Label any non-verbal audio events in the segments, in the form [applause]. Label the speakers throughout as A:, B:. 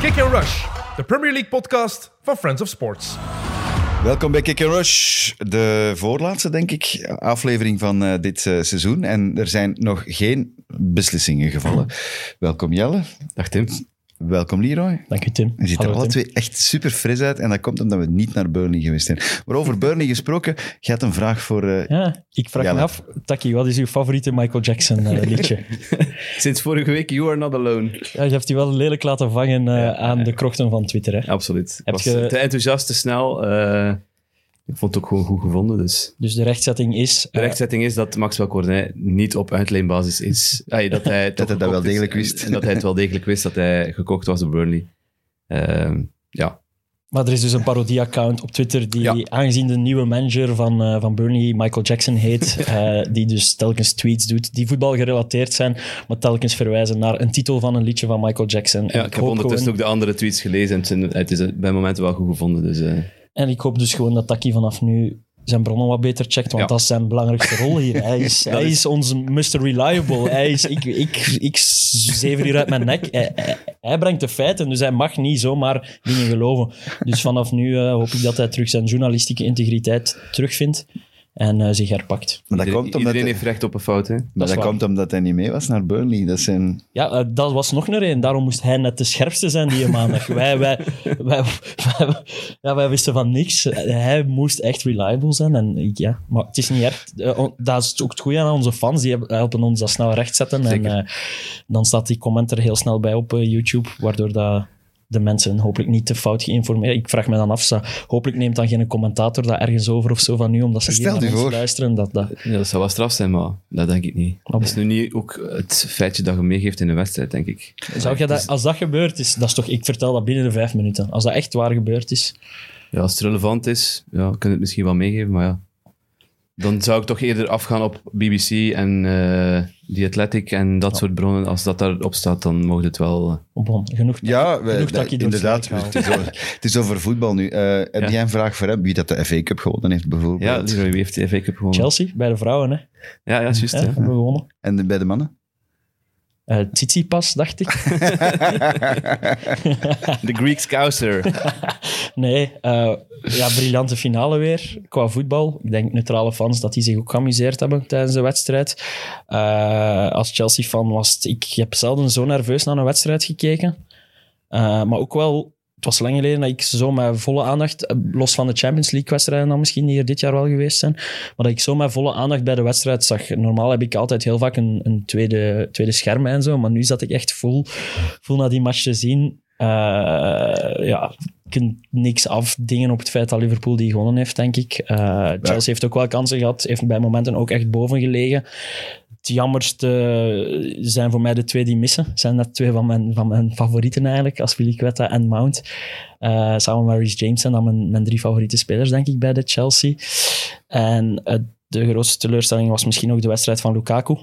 A: Kick and Rush, de Premier League podcast van Friends of Sports.
B: Welkom bij Kick and Rush, de voorlaatste, denk ik, aflevering van eh, dit eh, seizoen. En er zijn nog geen beslissingen gevallen. Welkom Jelle,
C: Dag Tim.
B: welkom Leroy.
D: Dank u, Tim.
B: Je ziet er
D: Hallo,
B: alle
D: Tim.
B: twee echt super fris uit en dat komt omdat we niet naar Burnley geweest zijn. Maar over Burnley gesproken, je had een vraag voor... eh,
D: Ja, ik vraag
B: Jelle.
D: me af, Taki, wat is uw favoriete Michael Jackson
C: [laughs]
D: eh, liedje?
C: Sinds vorige week, You Are Not Alone.
D: ja, je hebt die wel lelijk laten vangen eh, aan de krochten van Twitter. Hè?
C: Absoluut. Ik
D: Heb
C: was
D: je-
C: te enthousiast, te snel. eh, ik vond het ook gewoon goed gevonden. Dus
D: Dus de rechtzetting is...
C: de
D: eh,
C: rechtzetting is dat Maxwell Cornet niet op uitleenbasis is. Ah, dat [laughs] hij toch
B: Dat hij dat wel
C: gekocht is.
B: degelijk wist.
C: En dat hij het wel degelijk wist dat hij gekocht was door Burnley. Ehm, ja,
D: Maar er is dus een parodie-account op Twitter die,
C: Ja.
D: aangezien de nieuwe manager van, eh, van Burnley Michael Jackson
C: [laughs]
D: heet, eh, die dus telkens tweets doet die voetbalgerelateerd zijn, maar telkens verwijzen naar een titel van een liedje van Michael Jackson. En
C: ja ik heb ondertussen
D: gewoon-
C: ook de andere tweets gelezen en het, zijn- het is eh, bij momenten wel goed gevonden. Dus, eh,
D: En ik hoop dus gewoon dat Taki vanaf nu zijn bronnen wat beter checkt, want
C: Ja.
D: dat is zijn belangrijkste rol
C: [laughs]
D: hier. Hij is, hij
C: is-
D: is ons Mr. Reliable. Hij is, ik, ik, ik zever hier uit mijn nek. Hij, hij- hij brengt de feiten, dus hij mag niet zomaar dingen geloven. Dus vanaf nu eh, hoop ik dat hij terug zijn journalistieke integriteit terugvindt en eh, zich herpakt.
B: maar dat
C: iedereen
B: komt omdat,
C: iedereen
B: hij-
C: heeft recht op een fout. Hè?
B: maar
D: is
B: dat
D: waar.
B: komt omdat hij niet mee was naar Burnley. Dat zijn...
D: Ja, eh, dat was nog een reden. Daarom moest hij net de scherpste zijn
B: [laughs]
D: die maandag. wij, wij, wij, wij- ja, wij wisten van niks. Hij moest echt reliable zijn. En ik, ja. Maar het is niet erg. Eh, on- Dat is ook het goede aan onze fans. Die hebben- helpen ons dat snel recht zetten. En
C: Zeker.
D: eh, dan staat die comment er heel snel bij op eh, YouTube. Waardoor dat de mensen hopelijk niet te fout geïnformeerd. Ik vraag me dan af, zo, hopelijk neemt dan geen commentator dat ergens over of zo van nu, omdat ze hier
B: Stel
D: naar
B: je
D: ons
B: voor.
D: luisteren. Dat, dat,
C: Ja, dat zou wel straf zijn, maar dat denk ik niet. Dat is nu niet ook het feitje dat je meegeeft in de wedstrijd, denk ik.
D: Zou je dat, als dat gebeurd is, dat is toch, ik vertel dat binnen de vijf minuten. Als dat echt waar gebeurd is.
C: Ja, als het relevant is, ja, kunnen we het misschien wel meegeven, maar ja. Dan zou ik toch eerder afgaan op BBC en eh The Athletic en dat soort bronnen. Als dat daarop staat, dan mogen het wel... eh,
D: Oh, Bon, genoeg.
B: Ja, we-
D: Genoeg
B: dat-
D: takkie door het
B: inderdaad.
D: slijk
B: Het is, over, het is over voetbal nu. Eh, heb
C: Ja.
B: jij een vraag voor hem? Wie dat de FA Cup gewonnen heeft, bijvoorbeeld?
C: ja, Leroy, wie heeft de FA Cup gewonnen?
D: Chelsea, bij de vrouwen, hè.
C: Ja, ja, juist.
D: Ja,
C: Ja.
D: hebben we gewonnen.
B: En de- bij de mannen?
D: Eh Tsitsipas, dacht ik.
C: De Greek
D: [laughs]
C: Scouser.
D: Nee, eh, ja, briljante finale weer qua voetbal. Ik denk neutrale fans dat die zich ook geamuseerd hebben tijdens de wedstrijd. Eh, als Chelsea-fan was het... Ik heb zelden zo nerveus naar een wedstrijd gekeken. Eh, maar ook wel... Het was lang geleden dat ik zo met volle aandacht, eh, los van de Champions League-wedstrijden dan misschien, die er dit jaar wel geweest zijn, maar dat ik zo met volle aandacht bij de wedstrijd zag. Normaal heb ik altijd heel vaak een, een tweede, tweede scherm en zo, maar nu zat ik echt vol, vol naar die match te zien. Eh, ja, je kunt niks afdingen op het feit dat Liverpool die gewonnen heeft, denk ik. Eh, Chelsea heeft ook wel kansen gehad, heeft bij momenten ook echt boven gelegen. Het jammerste eh, zijn voor mij de twee die missen. Zijn dat twee van mijn, van mijn favorieten eigenlijk, als Quetta en Mount. Eh, samen met Reece James zijn dan mijn, mijn drie favoriete spelers, denk ik, bij de Chelsea. En eh, de grootste teleurstelling was misschien ook de wedstrijd van Lukaku.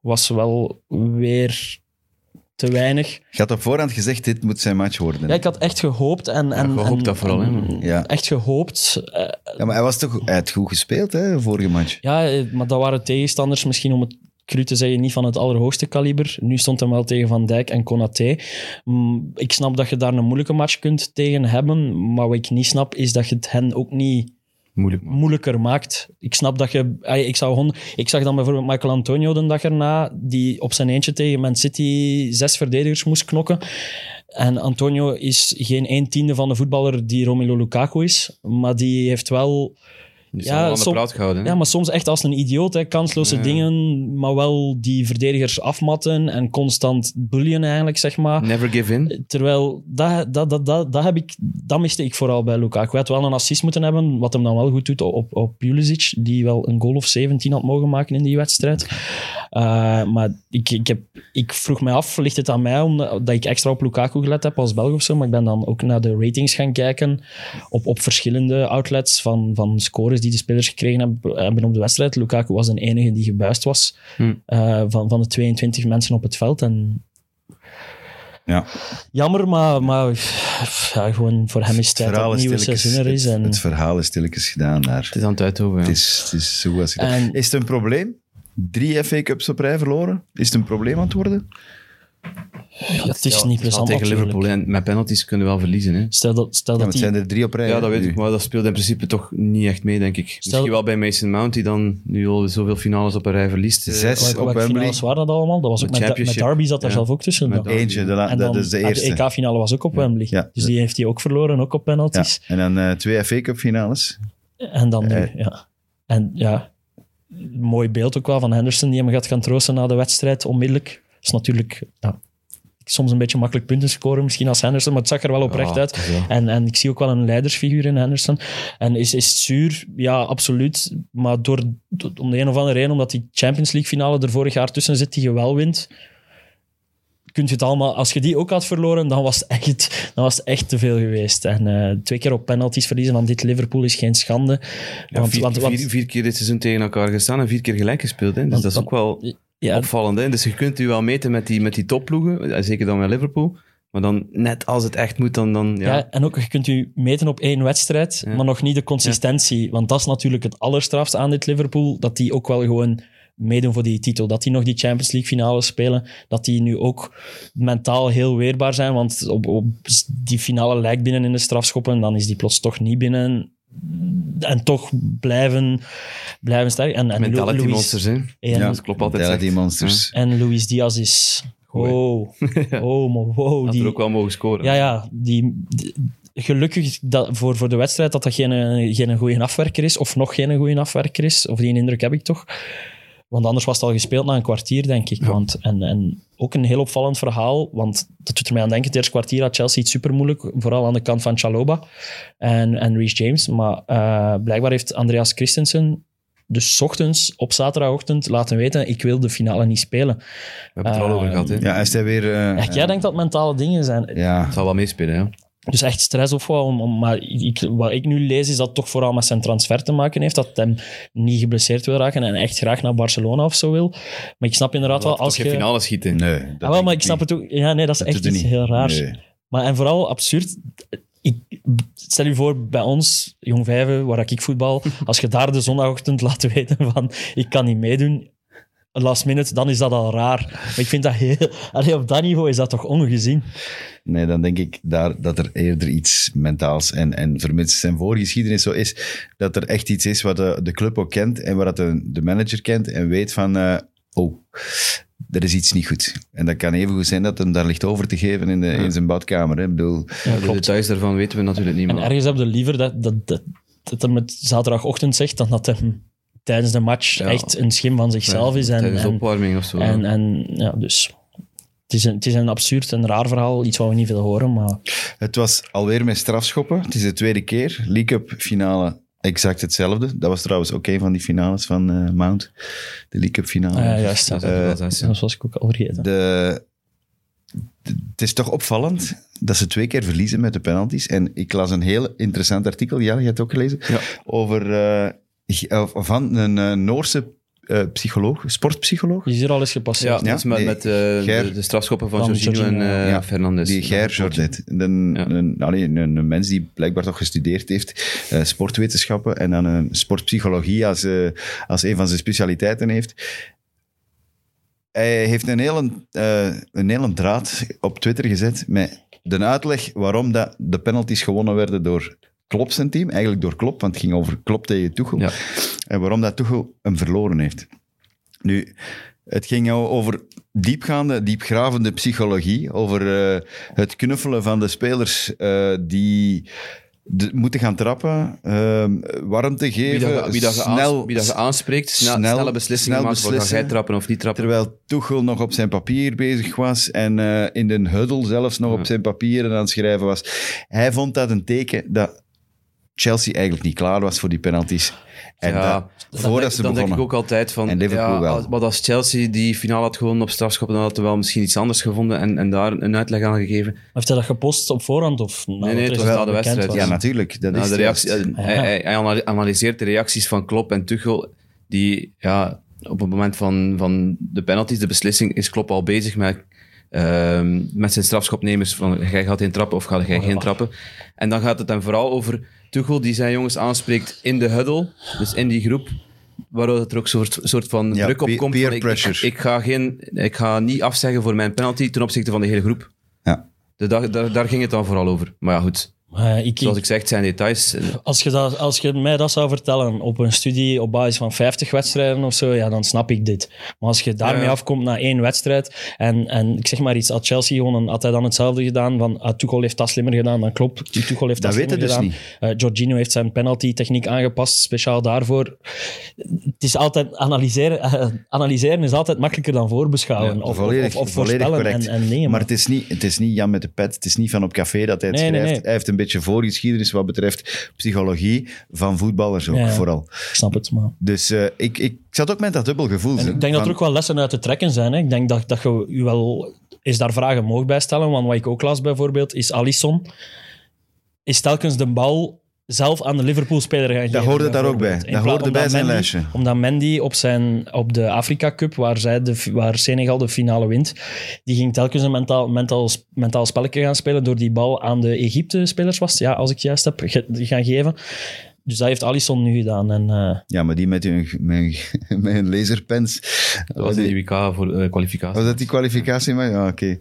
D: Was wel weer te weinig.
B: Je had op voorhand gezegd, dit moet zijn match worden.
D: Ja, ik had echt gehoopt. En, en,
C: gehoopt
D: en-
C: dat vooral, hè.
D: en-
B: Ja.
D: Echt gehoopt. eh,
B: Ja, maar hij, was toch, hij had goed gespeeld, hè, vorige match.
D: Ja, eh, maar dat waren tegenstanders misschien om het cru te zeggen, niet van het allerhoogste kaliber. Nu stond hem wel tegen Van Dijk en Konaté. Mm, Ik snap dat je daar een moeilijke match kunt tegen hebben, maar wat ik niet snap is dat je het hen ook niet
C: Moeilijk, man.
D: moeilijker maakt. Ik snap dat je... ay, Ik, zou hon- ik zag dan bijvoorbeeld Michael Antonio de dag erna, die op zijn eentje tegen Man City zes verdedigers moest knokken. En Antonio is geen een tiende van de voetballer die Romelu Lukaku is, maar die heeft wel...
C: Dus
D: Ja,
C: ja, aan de
D: som-
C: praat gehouden. hè.
D: Ja, maar soms echt als een idioot. Hè. Kansloze
C: Ja.
D: dingen, maar wel die verdedigers afmatten en constant bullyen eigenlijk, zeg maar.
C: Never give in.
D: Terwijl, dat, dat, dat, dat, dat, heb ik, dat miste ik vooral bij Lukaku. Hij had wel een assist moeten hebben, wat hem dan wel goed doet op, op Pulisic, die wel een goal of 17 had mogen maken in die wedstrijd. Eh, maar ik, ik, heb, ik vroeg mij af, ligt het aan mij omdat dat ik extra op Lukaku gelet heb als Belg of zo, maar ik ben dan ook naar de ratings gaan kijken op, op verschillende outlets van, van scores die de spelers gekregen hebben, hebben op de wedstrijd. Lukaku was de enige die gebuist was
C: Hm.
D: eh, van, van de 22 mensen op het veld en
B: Ja.
D: Jammer, maar, maar ja, gewoon voor hem is het tijd dat het nieuwe
B: stilletjes-
D: seizoen er is.
B: het-
D: En,
B: het verhaal is stilletjes gedaan daar.
C: Het is aan het uithoven.
B: Het
C: ja.
B: is, het is zo als je dat-
D: En-
B: Is het een probleem? Drie FA Cups op rij verloren? Is het een probleem aan het worden?
D: Ja, het is niet
C: Ja,
D: plezant
C: tegen
D: natuurlijk.
C: Liverpool en met penalties kunnen we wel verliezen. Hè.
D: Stel dat, stel
B: Ja, maar
D: dat
B: het
D: die...
B: zijn er drie op rij.
C: Ja, dat
B: hè,
C: weet
B: nu.
C: ik, maar dat speelt in principe toch niet echt mee, denk ik. Misschien wel bij Mason Mount, die dan nu al zoveel finales op een rij verliest. Eh,
B: Zes
D: Welke,
B: op
D: welke
B: Wembley.
D: finales waren dat allemaal? Dat was ook
C: De
D: met, met
C: Championship.
D: Derby zat daar
C: Ja.
D: zelf ook tussen.
C: Met
D: dan.
C: Derby.
B: Eentje, de la-
D: En
B: dat
D: dan,
B: is de
D: ah,
B: eerste.
D: De EK-finale was ook op Wembley.
B: Ja.
D: Dus die heeft hij ook verloren, ook op
B: Ja.
D: penalties.
B: En dan eh, twee FA Cup finales.
D: En dan nu,
B: Eh.
D: ja. En ja, mooi beeld ook wel van Henderson, die hem gaat gaan troosten na de wedstrijd, onmiddellijk. Dat is natuurlijk ja, soms een beetje makkelijk punten scoren, misschien als Henderson, maar het zag er wel oprecht
C: ja,
D: uit.
C: het is wel-
D: En, en ik zie ook wel een leidersfiguur in Henderson. En is, is het zuur? Ja, absoluut. Maar door, door- om de een of andere reden, omdat die Champions League finale er vorig jaar tussen zit, die je wel wint, kun je het allemaal... Als je die ook had verloren, dan was het echt, dan was het echt te veel geweest. En eh, twee keer op penalties verliezen van dit Liverpool is geen schande.
C: Ja,
D: want,
C: vier,
D: want, want-
C: vier, vier keer dit seizoen tegen elkaar gestaan en vier keer gelijk gespeeld. Hè. Dus
D: Want-
C: dat is ook wel
D: ja,
C: opvallend. Hè. Dus je kunt u wel meten met die, met die topploegen, eh, zeker dan met Liverpool. Maar dan net als het echt moet, dan... dan ja.
D: ja. en ook, je kunt u meten op één wedstrijd,
C: Ja.
D: maar nog niet de consistentie. Want dat is natuurlijk het allerstrafste aan dit Liverpool, dat die ook wel gewoon meedoen voor die titel. Dat die nog die Champions League finale spelen, dat die nu ook mentaal heel weerbaar zijn, want op, op die finale lijkt binnen in de strafschoppen, en dan is die plots toch niet binnen. En toch blijven, blijven sterk. En, en
C: Mentality
D: Lu- Luis-
C: monsters, hè.
D: en-
C: Dat klopt altijd.
B: Della die
C: zegt. Hm.
B: monsters.
D: En Luis Diaz is...
C: Goeie. [laughs]
D: Wow. Oh, maar wow.
C: Had
D: die,
C: er ook wel mogen scoren.
D: ja, ja. Die, die- gelukkig dat, voor, voor de wedstrijd dat dat geen, geen goede afwerker is, of nog geen goede afwerker is. Of die indruk heb ik toch. Want anders was het al gespeeld na een kwartier, denk ik. Want, en, en ook een heel opvallend verhaal, want dat doet er mij aan denken. Het eerste kwartier had Chelsea het super moeilijk, vooral aan de kant van Chaloba en, en Reece James. Maar eh, blijkbaar heeft Andreas Christensen dus 's ochtends, op zaterdagochtend, laten weten: ik wil de finale niet spelen.
C: We hebben het er al over gehad. Hè.
B: Ja, is hij weer... eh,
D: Echt, jij denkt dat het mentale dingen zijn.
B: Ja,
C: Het zal wel meespelen, ja.
D: Dus echt stress of wat. Om, om- maar ik, wat ik nu lees, is dat het toch vooral met zijn transfer te maken heeft. Dat hem niet geblesseerd wil raken en echt graag naar Barcelona of zo wil. Maar ik snap inderdaad wel,
C: Laat
D: als
C: als
D: je...
C: geen finale schieten.
B: nee. dat
D: Ah, wel, maar
B: denk
D: ik snap
B: niet.
D: het ook... Ja, nee, dat is
B: Dat
D: echt
B: doet
D: iets
B: hij niet.
D: heel raars.
B: Nee.
D: Maar, en vooral absurd. Ik, stel je voor, bij ons, Jong Vijven, waar ik voetbal, als je daar de zondagochtend laat weten van ik kan niet meedoen, last minute, dan is dat al raar. Maar ik vind dat heel... Allee, op dat niveau is dat toch ongezien?
B: Nee, dan denk ik daar, dat er eerder iets mentaals en, en vermits zijn voorgeschiedenis zo is, dat er echt iets is wat de, de club ook kent en wat de, de manager kent en weet van, eh, oh, er is iets niet goed. En dat kan even goed zijn dat hem daar ligt over te geven in, de, in zijn badkamer. Hè. Ik bedoel,
D: Ja,
C: De details daarvan weten we natuurlijk niet,
D: En
C: maar
D: ergens heb je liever dat, dat, dat, dat hem het zaterdagochtend zegt dan dat hem tijdens de match
C: Ja.
D: echt een schim van zichzelf is. En,
C: tijdens de
D: en,
C: opwarming of zo.
D: en,
C: ja.
D: en ja, dus. Het is, een, het is een absurd en raar verhaal, iets wat we niet veel horen, maar
B: Het was alweer met strafschoppen. Het is de tweede keer. League Cup finale, exact hetzelfde. Dat was trouwens ook een van die finales van eh, Mount. De League Cup finale.
D: ah, ja, juist. Ja.
C: Dat zou
B: Eh,
C: wel zijn, ja.
D: Dat was ik ook al vergeten.
B: De, de- het is toch opvallend dat ze twee keer verliezen met de penalties. En ik las een heel interessant artikel, ja, je hebt het ook gelezen,
C: Ja.
B: over, eh, g- of- van een eh, Noorse eh, psycholoog, sportpsycholoog,
D: Die is hier al eens
C: Ja,
D: gepasseerd.
C: dat is met,
B: nee,
C: met eh,
B: Ger-
C: de, de strafschoppen van
D: Van
C: Jorginho en
D: Jorginho,
C: eh
B: ja.
C: Fernandes.
B: die Ger Jordet. Een,
C: Ja.
B: een, allee, een, een mens die blijkbaar toch gestudeerd heeft, eh, sportwetenschappen, en dan een sportpsychologie als, eh, als een van zijn specialiteiten heeft. Hij heeft een hele, eh, een hele draad op Twitter gezet met de uitleg waarom dat de penalties gewonnen werden door Klopp zijn team. Eigenlijk door Klopp, want het ging over Klopp tegen Tuchel.
C: Ja.
B: En waarom dat Tuchel hem verloren heeft. Nu, het ging o- over diepgaande, diepgravende psychologie. Over eh, het knuffelen van de spelers eh, die de- moeten gaan trappen, ehm, warmte
C: Wie
B: geven,
C: dat, wie, dat je aans-
B: snel...
C: wie dat je aanspreekt, snel,
B: snel-
C: snelle beslissingen
B: snel
C: maken. Voor, Ga
B: beslissen.
C: jij trappen of niet trappen?
B: Terwijl Tuchel nog op zijn papier bezig was en eh, in de huddle zelfs nog op zijn papieren aan het schrijven was. Hij vond dat een teken dat Chelsea eigenlijk niet klaar was voor die penalties. En
C: Ja,
B: dat, voordat ze
C: dan denk
B: begonnen.
C: ik ook altijd van...
B: En Liverpool
C: ja,
B: wel.
C: als- Maar als Chelsea die finale had gewonnen op strafschoppen, dan hadden we wel misschien iets anders gevonden en, en daar een uitleg aan gegeven.
D: Heeft hij dat gepost op voorhand? Of nadat
C: nee,
D: het
C: het was
D: resultaat
C: na de
D: bekend
C: wedstrijd,
D: was?
B: Ja, natuurlijk. Dat
C: Nou,
B: is
C: de
B: het
C: reactie,
B: juist.
C: hij, hij- hij anal- analyseert de reacties van Klopp en Tuchel, die ja, op het moment van, van de penalties, de beslissing, is Klopp al bezig met, ehm, met zijn strafschopnemers. Van, jij gaat in trappen of ga jij
B: Oh,
C: geen trappen. En dan gaat het dan vooral over Tuchel, die zijn jongens aanspreekt in de huddle, dus in die groep. waardoor het er ook een soort, soort van
B: Ja,
C: druk op
B: peer-
C: komt.
B: peer
C: van ik-
B: pressure.
C: Ik, ik, ga geen, ik ga niet afzeggen voor mijn penalty ten opzichte van de hele groep.
B: Ja.
C: De, daar, daar, daar ging het dan vooral over. Maar ja, goed.
D: Maar Ah, ik,
C: Zoals ik zeg, het zijn details.
D: als, je dat, als je mij dat zou vertellen op een studie op basis van 50 wedstrijden of zo, ja, dan snap ik dit. Maar als je daarmee
C: Ja.
D: afkomt na één wedstrijd en, en ik zeg maar iets, had Chelsea gewoon een- had hij dan hetzelfde gedaan, van ah, Tuchel heeft dat slimmer gedaan, dan klopt, Tuchel heeft dat,
B: Dat weet
D: slimmer
B: het dus
D: gedaan.
B: niet.
D: Eh, Jorginho heeft zijn penalty-techniek aangepast, speciaal daarvoor. Het is altijd analyseren, eh, analyseren is altijd makkelijker dan voorbeschouwen
C: Ja,
D: of,
B: volledig,
D: of, of
B: volledig
D: voorspellen
B: correct.
D: en, en nemen.
B: maar het is, niet, het is niet Jan met de pet. Het is niet van op café dat hij het
D: Nee, nee,
B: schrijft.
D: nee.
B: Hij heeft een beetje voorgeschiedenis wat betreft psychologie van voetballers ook,
D: Ja.
B: vooral.
D: ik snap het, maar...
B: Dus eh, ik, ik zat ook met dat dubbel gevoel.
D: En ik denk dat er ook wel lessen uit te trekken zijn. Hè. Ik denk dat, dat je u wel eens daar vragen mag bij stellen. Want wat ik ook las bijvoorbeeld, is Alisson is telkens de bal zelf aan de Liverpool-speler gaan geven.
B: hoorde daar ook bij.
D: bijvoorbeeld. In
B: Dat
D: plaats-
B: hoorde bij
D: omdat
B: zijn
D: Mendy-
B: lijstje.
D: Omdat Mendy op, zijn, op de Afrika Cup, waar, zij de, fi- waar Senegal de finale wint, die ging telkens een mentaal, mentaal, sp- mentaal spelletje gaan spelen door die bal aan de Egypte-spelers was. Ja, als ik het juist heb, ge- gaan geven. Dus dat heeft Alisson nu gedaan. En, eh,
B: Ja, maar die met hun, met hun, [laughs] met hun laserpens.
C: Dat was in de WK voor eh, kwalificatie.
B: Was dat die kwalificatie? Maar ja, oké. Ik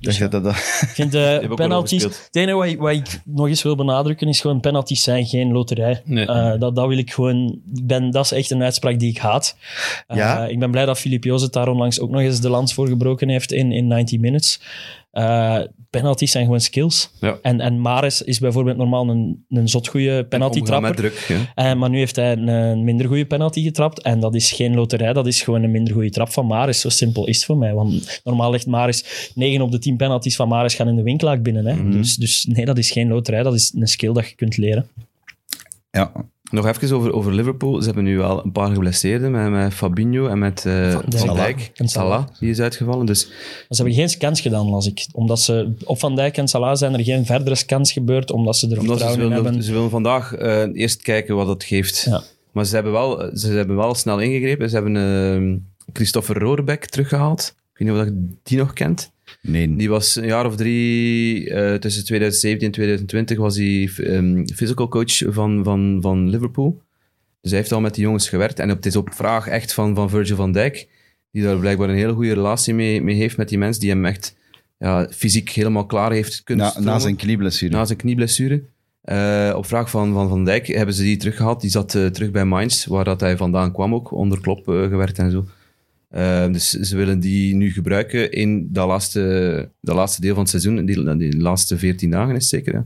B: dacht
D: ja.
B: dat dat... [laughs]
D: Ik vind
C: ook
D: de
C: wel
D: penalties.
C: overspeeld.
D: Het enige wat, ik- wat ik nog eens wil benadrukken is gewoon: penalties zijn geen loterij.
C: Nee.
D: Eh, dat, dat wil ik gewoon. ik Ben, dat is echt een uitspraak die ik haat. Eh,
B: Ja?
D: Ik ben blij dat Filip Joos het daar onlangs ook nog eens de lans voor gebroken heeft in, in 90 Minutes. Eh, penalties zijn gewoon skills.
C: Ja.
D: En, en Maris is bijvoorbeeld normaal een, een zot goede penalty
C: Omgaan met
D: trapper.
C: druk. Ja.
D: Eh, maar nu heeft hij een, een minder goede penalty getrapt. En dat is geen loterij, dat is gewoon een minder goede trap van Maris. Zo simpel is het voor mij. Want normaal ligt Maris 9 op de 10 penalties van Maris gaan in de winklaak binnen. Hè?
C: Mhm.
D: dus, dus nee, dat is geen loterij, dat is een skill dat je kunt leren.
B: Ja,
C: Nog even over, over Liverpool. Ze hebben nu wel een paar geblesseerden met, met Fabinho en met eh
D: Dijk.
C: Van Dijk.
D: En
C: En
D: Salah.
C: Salah, die is uitgevallen. Dus
D: Maar ze hebben geen scans gedaan, las ik. Omdat ze op Van Dijk en Salah zijn er geen verdere scans gebeurd, omdat ze er
C: Omdat ze,
D: vertrouwen in
C: willen,
D: hebben.
C: ze willen vandaag eh, eerst kijken wat dat geeft.
D: Ja.
C: Maar ze hebben, wel, ze hebben wel snel ingegrepen. Ze hebben eh, Christopher Roorbeck teruggehaald. Ik weet niet of dat je die nog kent.
B: nee.
C: Die was een jaar of drie, eh, tussen 2017 en 2020, was hij ehm, physical coach van, van, van Liverpool. Dus hij heeft al met die jongens gewerkt. En het is op vraag echt van, van Virgil van Dijk, die daar blijkbaar een hele goede relatie mee, mee heeft met die mensen, die hem echt ja, fysiek helemaal klaar heeft kunnen
B: Na, na
C: stromen.
B: zijn knieblessure.
D: Nou,
C: Na zijn knieblessure. Eh, op vraag van Van, van Dijk hebben ze die teruggehaald. Die zat eh, terug bij Mainz, waar dat hij vandaan kwam ook. Onder Klop eh, gewerkt en zo. Eh, dus ze willen die nu gebruiken in dat laatste, dat laatste deel van het seizoen. Die, die laatste 14 dagen is het zeker. hè.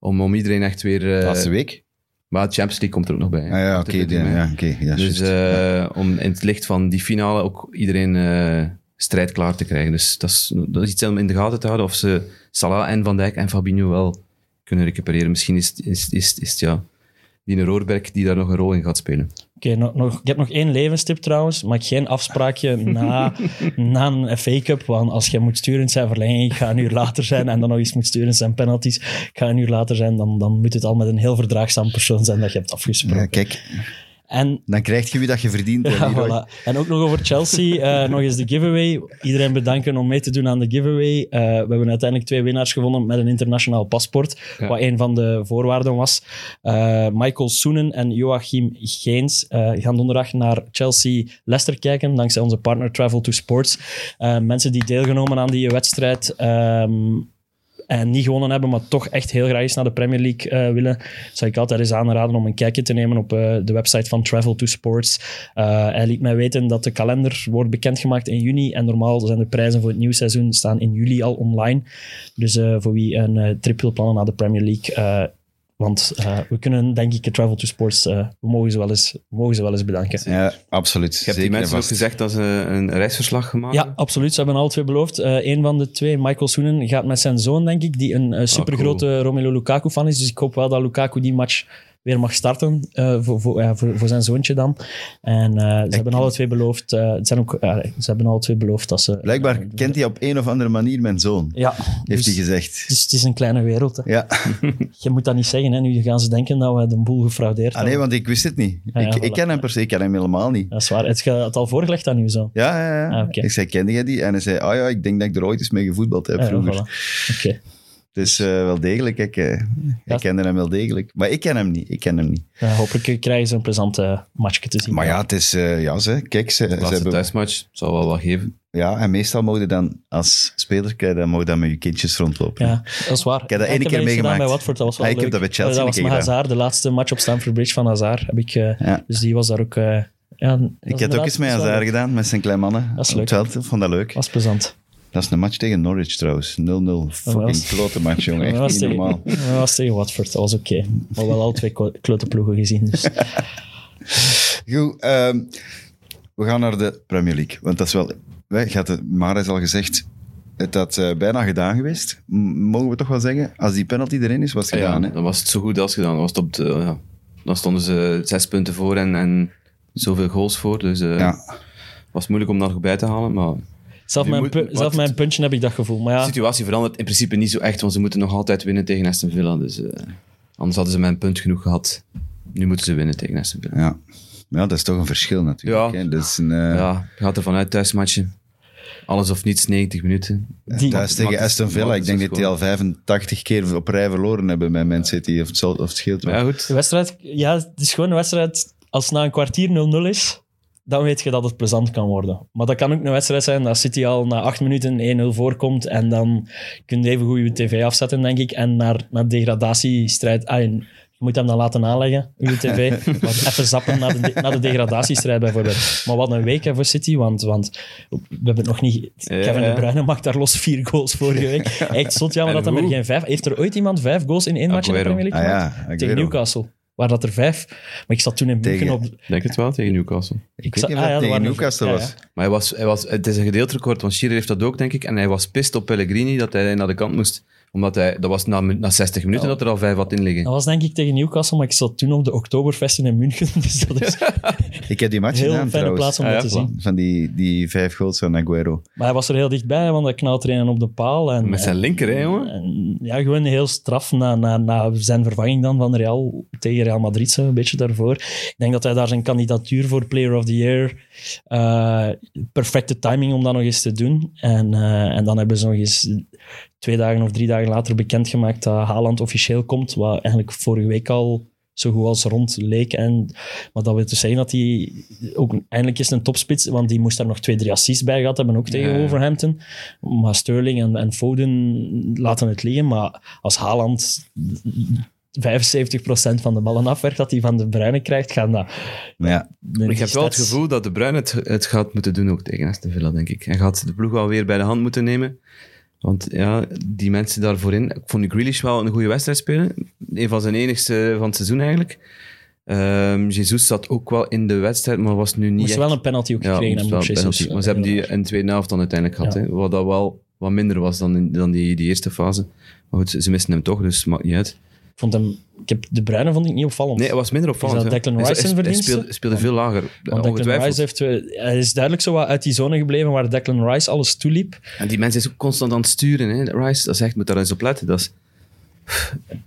C: Om, om iedereen echt weer... eh,
B: Laatste week?
C: maar Champions League komt er ook nog bij. hè.
B: Ah, ja, oké.
C: Dit-
B: ja, ja, oké, ja,
C: Dus
B: juist.
C: eh, om in het licht van die finale ook iedereen eh, strijd klaar te krijgen. Dus dat is, dat is iets om in de gaten te houden of ze Salah en Van Dijk en Fabinho wel kunnen recupereren. Misschien is, het- is, is, is het ja, die Roorberg die daar nog een rol in gaat spelen.
D: Oké, nog, nog- ik heb nog één levenstip trouwens. Maak geen afspraakje na, na een FA Cup. Want als je moet sturen zijn verlenging, ik ga een uur later zijn. En dan nog eens moet sturen zijn penalties, ik ga een uur later zijn. Dan, dan moet het al met een heel verdraagzaam persoon zijn dat je hebt afgesproken.
B: Ja, kijk,
D: En
B: dan krijg je wie dat je verdient. hè,
D: ja,
B: Leroy.
D: voilà. En ook nog over Chelsea. eh, nog eens de giveaway. Iedereen bedanken om mee te doen aan de giveaway. Eh, we hebben uiteindelijk twee winnaars gevonden met een internationaal paspoort.
C: Ja.
D: Wat een van de voorwaarden was. Eh, Michael Soenen en Joachim Geens eh, gaan donderdag naar Chelsea-Leicester kijken. Dankzij onze partner Travel to Sports. Eh, mensen die deelgenomen aan die wedstrijd. ehm, en niet gewonnen hebben, maar toch echt heel graag eens naar de Premier League eh, willen, zou ik altijd eens aanraden om een kijkje te nemen op eh, de website van Travel to Sports. Eh, hij liet mij weten dat de kalender wordt bekendgemaakt in juni en normaal zijn de prijzen voor het nieuwe seizoen staan in juli al online. Dus eh, voor wie een eh, trip wil plannen naar de Premier League, eh, want eh, we kunnen denk ik eh, Travel to Sports, eh, we, mogen ze wel eens, we mogen ze wel eens bedanken.
B: Ja, absoluut.
C: Ik heb
B: Zeker
C: die mensen
B: en
C: ook
B: vast.
C: gezegd dat ze een reisverslag gemaakt
D: Ja, absoluut. Ze hebben alle twee beloofd. Eén van de twee, Michael Soenen, gaat met zijn zoon, denk ik, die een
B: Ah,
D: eh, supergrote Romelu Lukaku-fan is. Dus ik hoop wel dat Lukaku die match weer mag starten eh, voor, voor, ja, voor, voor zijn zoontje dan. En eh, ze hebben alle twee beloofd... eh, het zijn ook, eh, ze hebben alle twee beloofd dat ze...
B: Blijkbaar kent hij op een of andere manier mijn zoon,
D: Ja,
B: heeft
D: dus,
B: hij gezegd.
D: dus het is een kleine wereld. Hè. [laughs]
B: Ja,
D: Je moet dat niet zeggen. Hè. Nu gaan ze denken dat we de boel gefraudeerd
B: ah, nee,
D: hebben.
B: want ik wist het niet.
D: ja,
B: ik, ik
D: voilà.
B: ken hem per se, ik ken hem helemaal niet.
D: Dat is waar. Het gaat al voorgelegd aan uw zoon.
B: Ja, ja, ja.
D: Ah, oké.
B: Ik zei, kende jij die? En hij zei, ah ja, ik denk dat ik er ooit eens mee gevoetbald heb
D: Ja,
B: vroeger.
D: Eh, voilà. Oké.
B: Dus eh, wel degelijk, ik, eh,
D: Ja.
B: ik kende hem wel degelijk. Maar ik ken hem niet, ik ken hem niet.
D: Ja, Eh, hopelijk krijgen ze een plezante matchje te zien.
B: Maar ja, het is, eh, ja ze, kijk, ze, ze
C: De laatste
B: hebben...
C: thuismatch zou wel wat geven.
B: Ja, en meestal mogen dan als speler, krijg je dan, mogen dan met je kindjes rondlopen.
D: Ja, dat is waar. Ik
B: heb dat één
D: heb
B: keer
D: iets gedaan
B: meegemaakt.
D: Bij Watford, dat was wel
B: Ja, ik heb
D: leuk.
B: dat bij Chelsea
D: dat
B: een
D: was
B: keer
D: met
B: gedaan.
D: Hazard, de laatste match op Stamford Bridge van Hazard. Heb ik, eh,
B: Ja.
D: Dus die was daar ook... eh, ja, dat is
B: Ik heb het
D: inderdaad-
B: ook eens met
D: dat is wel
B: Hazard
D: leuk.
B: gedaan, met zijn kleine mannen.
D: Dat is
B: op het
D: leuk.
B: veld. Ik vond dat leuk.
D: was plezant.
B: Dat is een match tegen Norwich trouwens. 0-0. Fucking
D: was-
B: klote match, jongen.
D: [laughs] Dat
B: Echt
D: was,
B: niet
D: tegen,
B: normaal.
D: dat was tegen Watford, dat was oké. Maar wel al twee klo- klote ploegen gezien.
B: [laughs]
D: Dus.
B: Goed, ehm, we gaan naar de Premier League. Want dat is wel... Wij, gaat het, Mara is al gezegd, het had eh, bijna gedaan geweest. M- mogen we toch wel zeggen, als die penalty erin is, was het
C: Ja,
B: gedaan. hè?
C: dan was het zo goed als gedaan. Dan, was het op de, ja. dan stonden ze zes punten voor en, en zoveel goals voor. Dus eh
B: Ja.
C: was moeilijk om daar nog bij te halen. Maar
D: Zelf,
C: Nu
D: mijn,
C: moet-
D: pu-
C: wat-
D: zelf mijn puntje heb ik dat gevoel. Maar
C: de
D: ja,
C: situatie verandert in principe niet zo echt, want ze moeten nog altijd winnen tegen Aston Villa. Dus eh, anders hadden ze mijn punt genoeg gehad. Nu moeten ze winnen tegen Aston Villa.
B: Ja. ja, dat is toch een verschil natuurlijk.
C: Ja.
B: Hè? Dat is een, eh,
C: Ja, gaat er vanuit thuismatchen. Alles of niets, 90 minuten.
D: die,
B: Thuis tegen
C: Matt is-
B: Aston Villa.
C: Matt
B: Ik
C: is
B: denk
C: een
B: dat die al 85 keer op rij verloren hebben bij Man City. Of het, zal- of het scheelt wel.
C: Maar ja, goed.
D: de wedstrijd, ja, het is gewoon een wedstrijd. Als het na een kwartier 0-0 is, dan weet je dat het plezant kan worden. Maar dat kan ook een wedstrijd zijn dat City al na acht minuten 1-0 voorkomt. En dan kun je even goed je tv afzetten, denk ik. En naar, naar degradatiestrijd. Ah, en je moet hem dan laten aanleggen, uw tv.
C: [laughs]
D: Maar even zappen naar de, naar de degradatiestrijd bijvoorbeeld. Maar wat een week hè, voor City, want, want we hebben het nog niet... Kevin
C: ja.
D: De Bruyne maakt daar los vier goals vorige week.
C: [laughs]
D: Echt zot jammer
C: En
D: dat hem er
C: hoe?
D: geen vijf... Heeft er ooit iemand vijf goals in één match in de
C: Aguero.
D: Premier League
B: Ah
D: gemaakt?
B: ja, Aguero.
D: Tegen Newcastle. Waar dat er vijf... Maar ik zat toen in
B: Tegen-
D: München op... Ik
C: Denk het wel, tegen Newcastle.
B: Ik
D: zat-
B: weet niet
D: ah
B: of dat
D: ja, er
B: tegen
D: waren er-
B: Newcastle
D: ja, ja.
B: was.
C: Maar hij was, hij was, het is een gedeeld record, want Schirrer heeft dat ook, denk ik. En hij was pist op Pellegrini dat hij naar de kant moest. Omdat hij, dat was na, minu- na 60 minuten dat er al vijf had in liggen.
D: Dat was denk ik tegen Newcastle, maar ik zat toen op de Oktoberfesten in München. [laughs] Dus dat is een
B: Ik heb die match
D: heel
B: gedaan
D: fijne
B: trouwens.
D: plaats om
C: Ah,
D: dat
C: ja,
D: te zien.
B: Van die, die vijf goals van Aguero.
D: Maar hij was er heel dichtbij, want hij knalt er een op de paal. En,
C: Met zijn linker, hè, jongen?
D: en- ja, gewoon heel straf na, na, na zijn vervanging dan van Real tegen Real Madrid, zo, een beetje daarvoor. Ik denk dat hij daar zijn kandidatuur voor Player of the Year... eh, perfecte timing om dat nog eens te doen. En, eh, en dan hebben ze nog eens twee dagen of drie dagen later bekendgemaakt dat Haaland officieel komt, wat eigenlijk vorige week al zo goed als rond leek. En, maar dat wil dus zeggen dat hij ook eindelijk is een topspits, want die moest daar nog twee, drie assists bij gehad hebben, ook tegen
C: Ja, ja.
D: Wolverhampton. Maar Sterling en, en Foden laten het liggen, maar als Haaland 75% van de ballen afwerkt dat hij van de Bruyne krijgt, gaan dat...
B: Maar ja,
D: die
C: Ik heb wel het
D: stats-
C: gevoel dat de Bruin het, het gaat moeten doen ook tegen Aston Villa, denk ik. Hij gaat de ploeg wel weer bij de hand moeten nemen. Want ja, die mensen daar voorin... Ik vond die Grealish wel een goede wedstrijd spelen. Een van zijn enigste van het seizoen, eigenlijk. Ehm Jesus zat ook wel in de wedstrijd, maar was nu niet
D: Moest
C: echt-
D: wel een penalty ook
C: Ja,
D: gekregen
C: moest
D: hebben. op
C: wel
D: Jesus. Eh,
C: penalty. Maar ze hebben die in de tweede helft dan uiteindelijk gehad.
D: Ja.
C: Hè? Wat dat wel wat minder was dan, in- dan die, die eerste fase. Maar goed, ze, ze misten hem toch, dus het maakt niet uit.
D: Ik vond hem, ik heb de Bruyne vond ik niet opvallend.
C: Nee, het was minder opvallend.
D: Is dat
C: hè.
D: Declan
C: Hij-
D: Rice
C: hij-
D: zijn
C: Hij
D: verdienste?
C: speelde, speelde veel lager,
D: Want Declan
C: ongetwijfeld.
D: Rice heeft, twee- hij is duidelijk zo wat uit die zone gebleven waar Declan Rice alles toeliep.
C: En die mensen is ook constant aan het sturen. Hè? Rice, dat is echt, moet daar eens op letten. Dat is...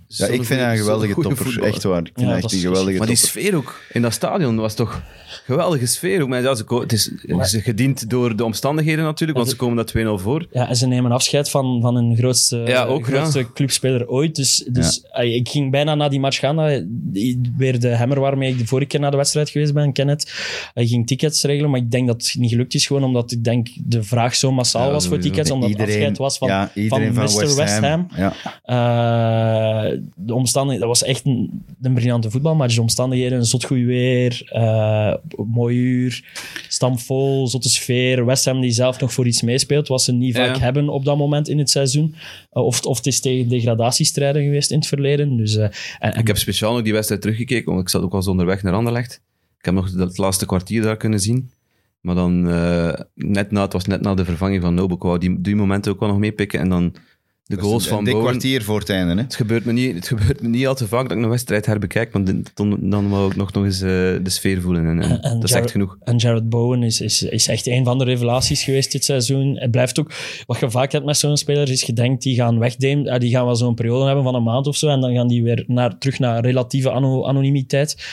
B: ja ik vind haar een geweldige topper. Echt waar. Ik vind
D: Ja,
B: haar
D: dat
B: echt een
D: is-
B: geweldige
C: Maar die
B: topper.
C: sfeer ook in dat stadion was toch een geweldige sfeer. Ook, maar ja, ze ko- het is, het is gediend door de omstandigheden natuurlijk, want ze komen dat 2-0 voor.
D: Ja, en ze nemen afscheid van, van hun grootste,
C: Ja, ook,
D: grootste
C: ja.
D: clubspeler ooit. Dus, dus ah, ik ging bijna na die match gaan. dat- die- Weer de hammer waarmee ik de vorige keer naar de wedstrijd geweest ben, Kenneth. Hij ging tickets regelen, maar ik denk dat het niet gelukt is. Gewoon omdat ik denk de vraag zo massaal
C: Ja,
D: was voor
C: sowieso.
D: tickets. Omdat het afscheid was van,
B: ja, iedereen
D: van,
B: van,
D: Mr. West Ham.
B: Ja.
D: Eh, de omstandigheden, dat was echt een, een briljante voetbalmatch. De omstandigheden, zot goed weer, eh, mooi uur, stampvol, zotte sfeer. West Ham die zelf nog voor iets meespeelt, wat ze niet
C: Ja.
D: vaak hebben op dat moment in het seizoen. Eh, of, of het is tegen degradatiestrijden geweest in het verleden. Dus, eh, en,
C: Ik heb speciaal nog die wedstrijd teruggekeken, want ik zat ook wel eens onderweg naar Anderlecht. Ik heb nog het laatste kwartier daar kunnen zien. Maar dan, eh, net na, het was net na de vervanging van Noble, ik wou die, die momenten ook wel nog meepikken. En dan de goals van
B: Dus Dit
C: Bowen.
B: kwartier voor het einde, hè.
C: Het gebeurt, me niet, het gebeurt me niet al te vaak dat ik een wedstrijd herbekijk, want dit- dan, dan wil ik nog, nog eens eh, de sfeer voelen. En, en
D: En- en
C: dat is
D: Jar-
C: echt genoeg.
D: En Jared Bowen is, is, is echt een van de revelaties geweest dit seizoen. Het blijft ook, wat je vaak hebt met zo'n speler, is je denkt die gaan wegdemen, eh, die gaan wel zo'n periode hebben van een maand of zo, en dan gaan die weer naar, terug naar relatieve ano- anonimiteit.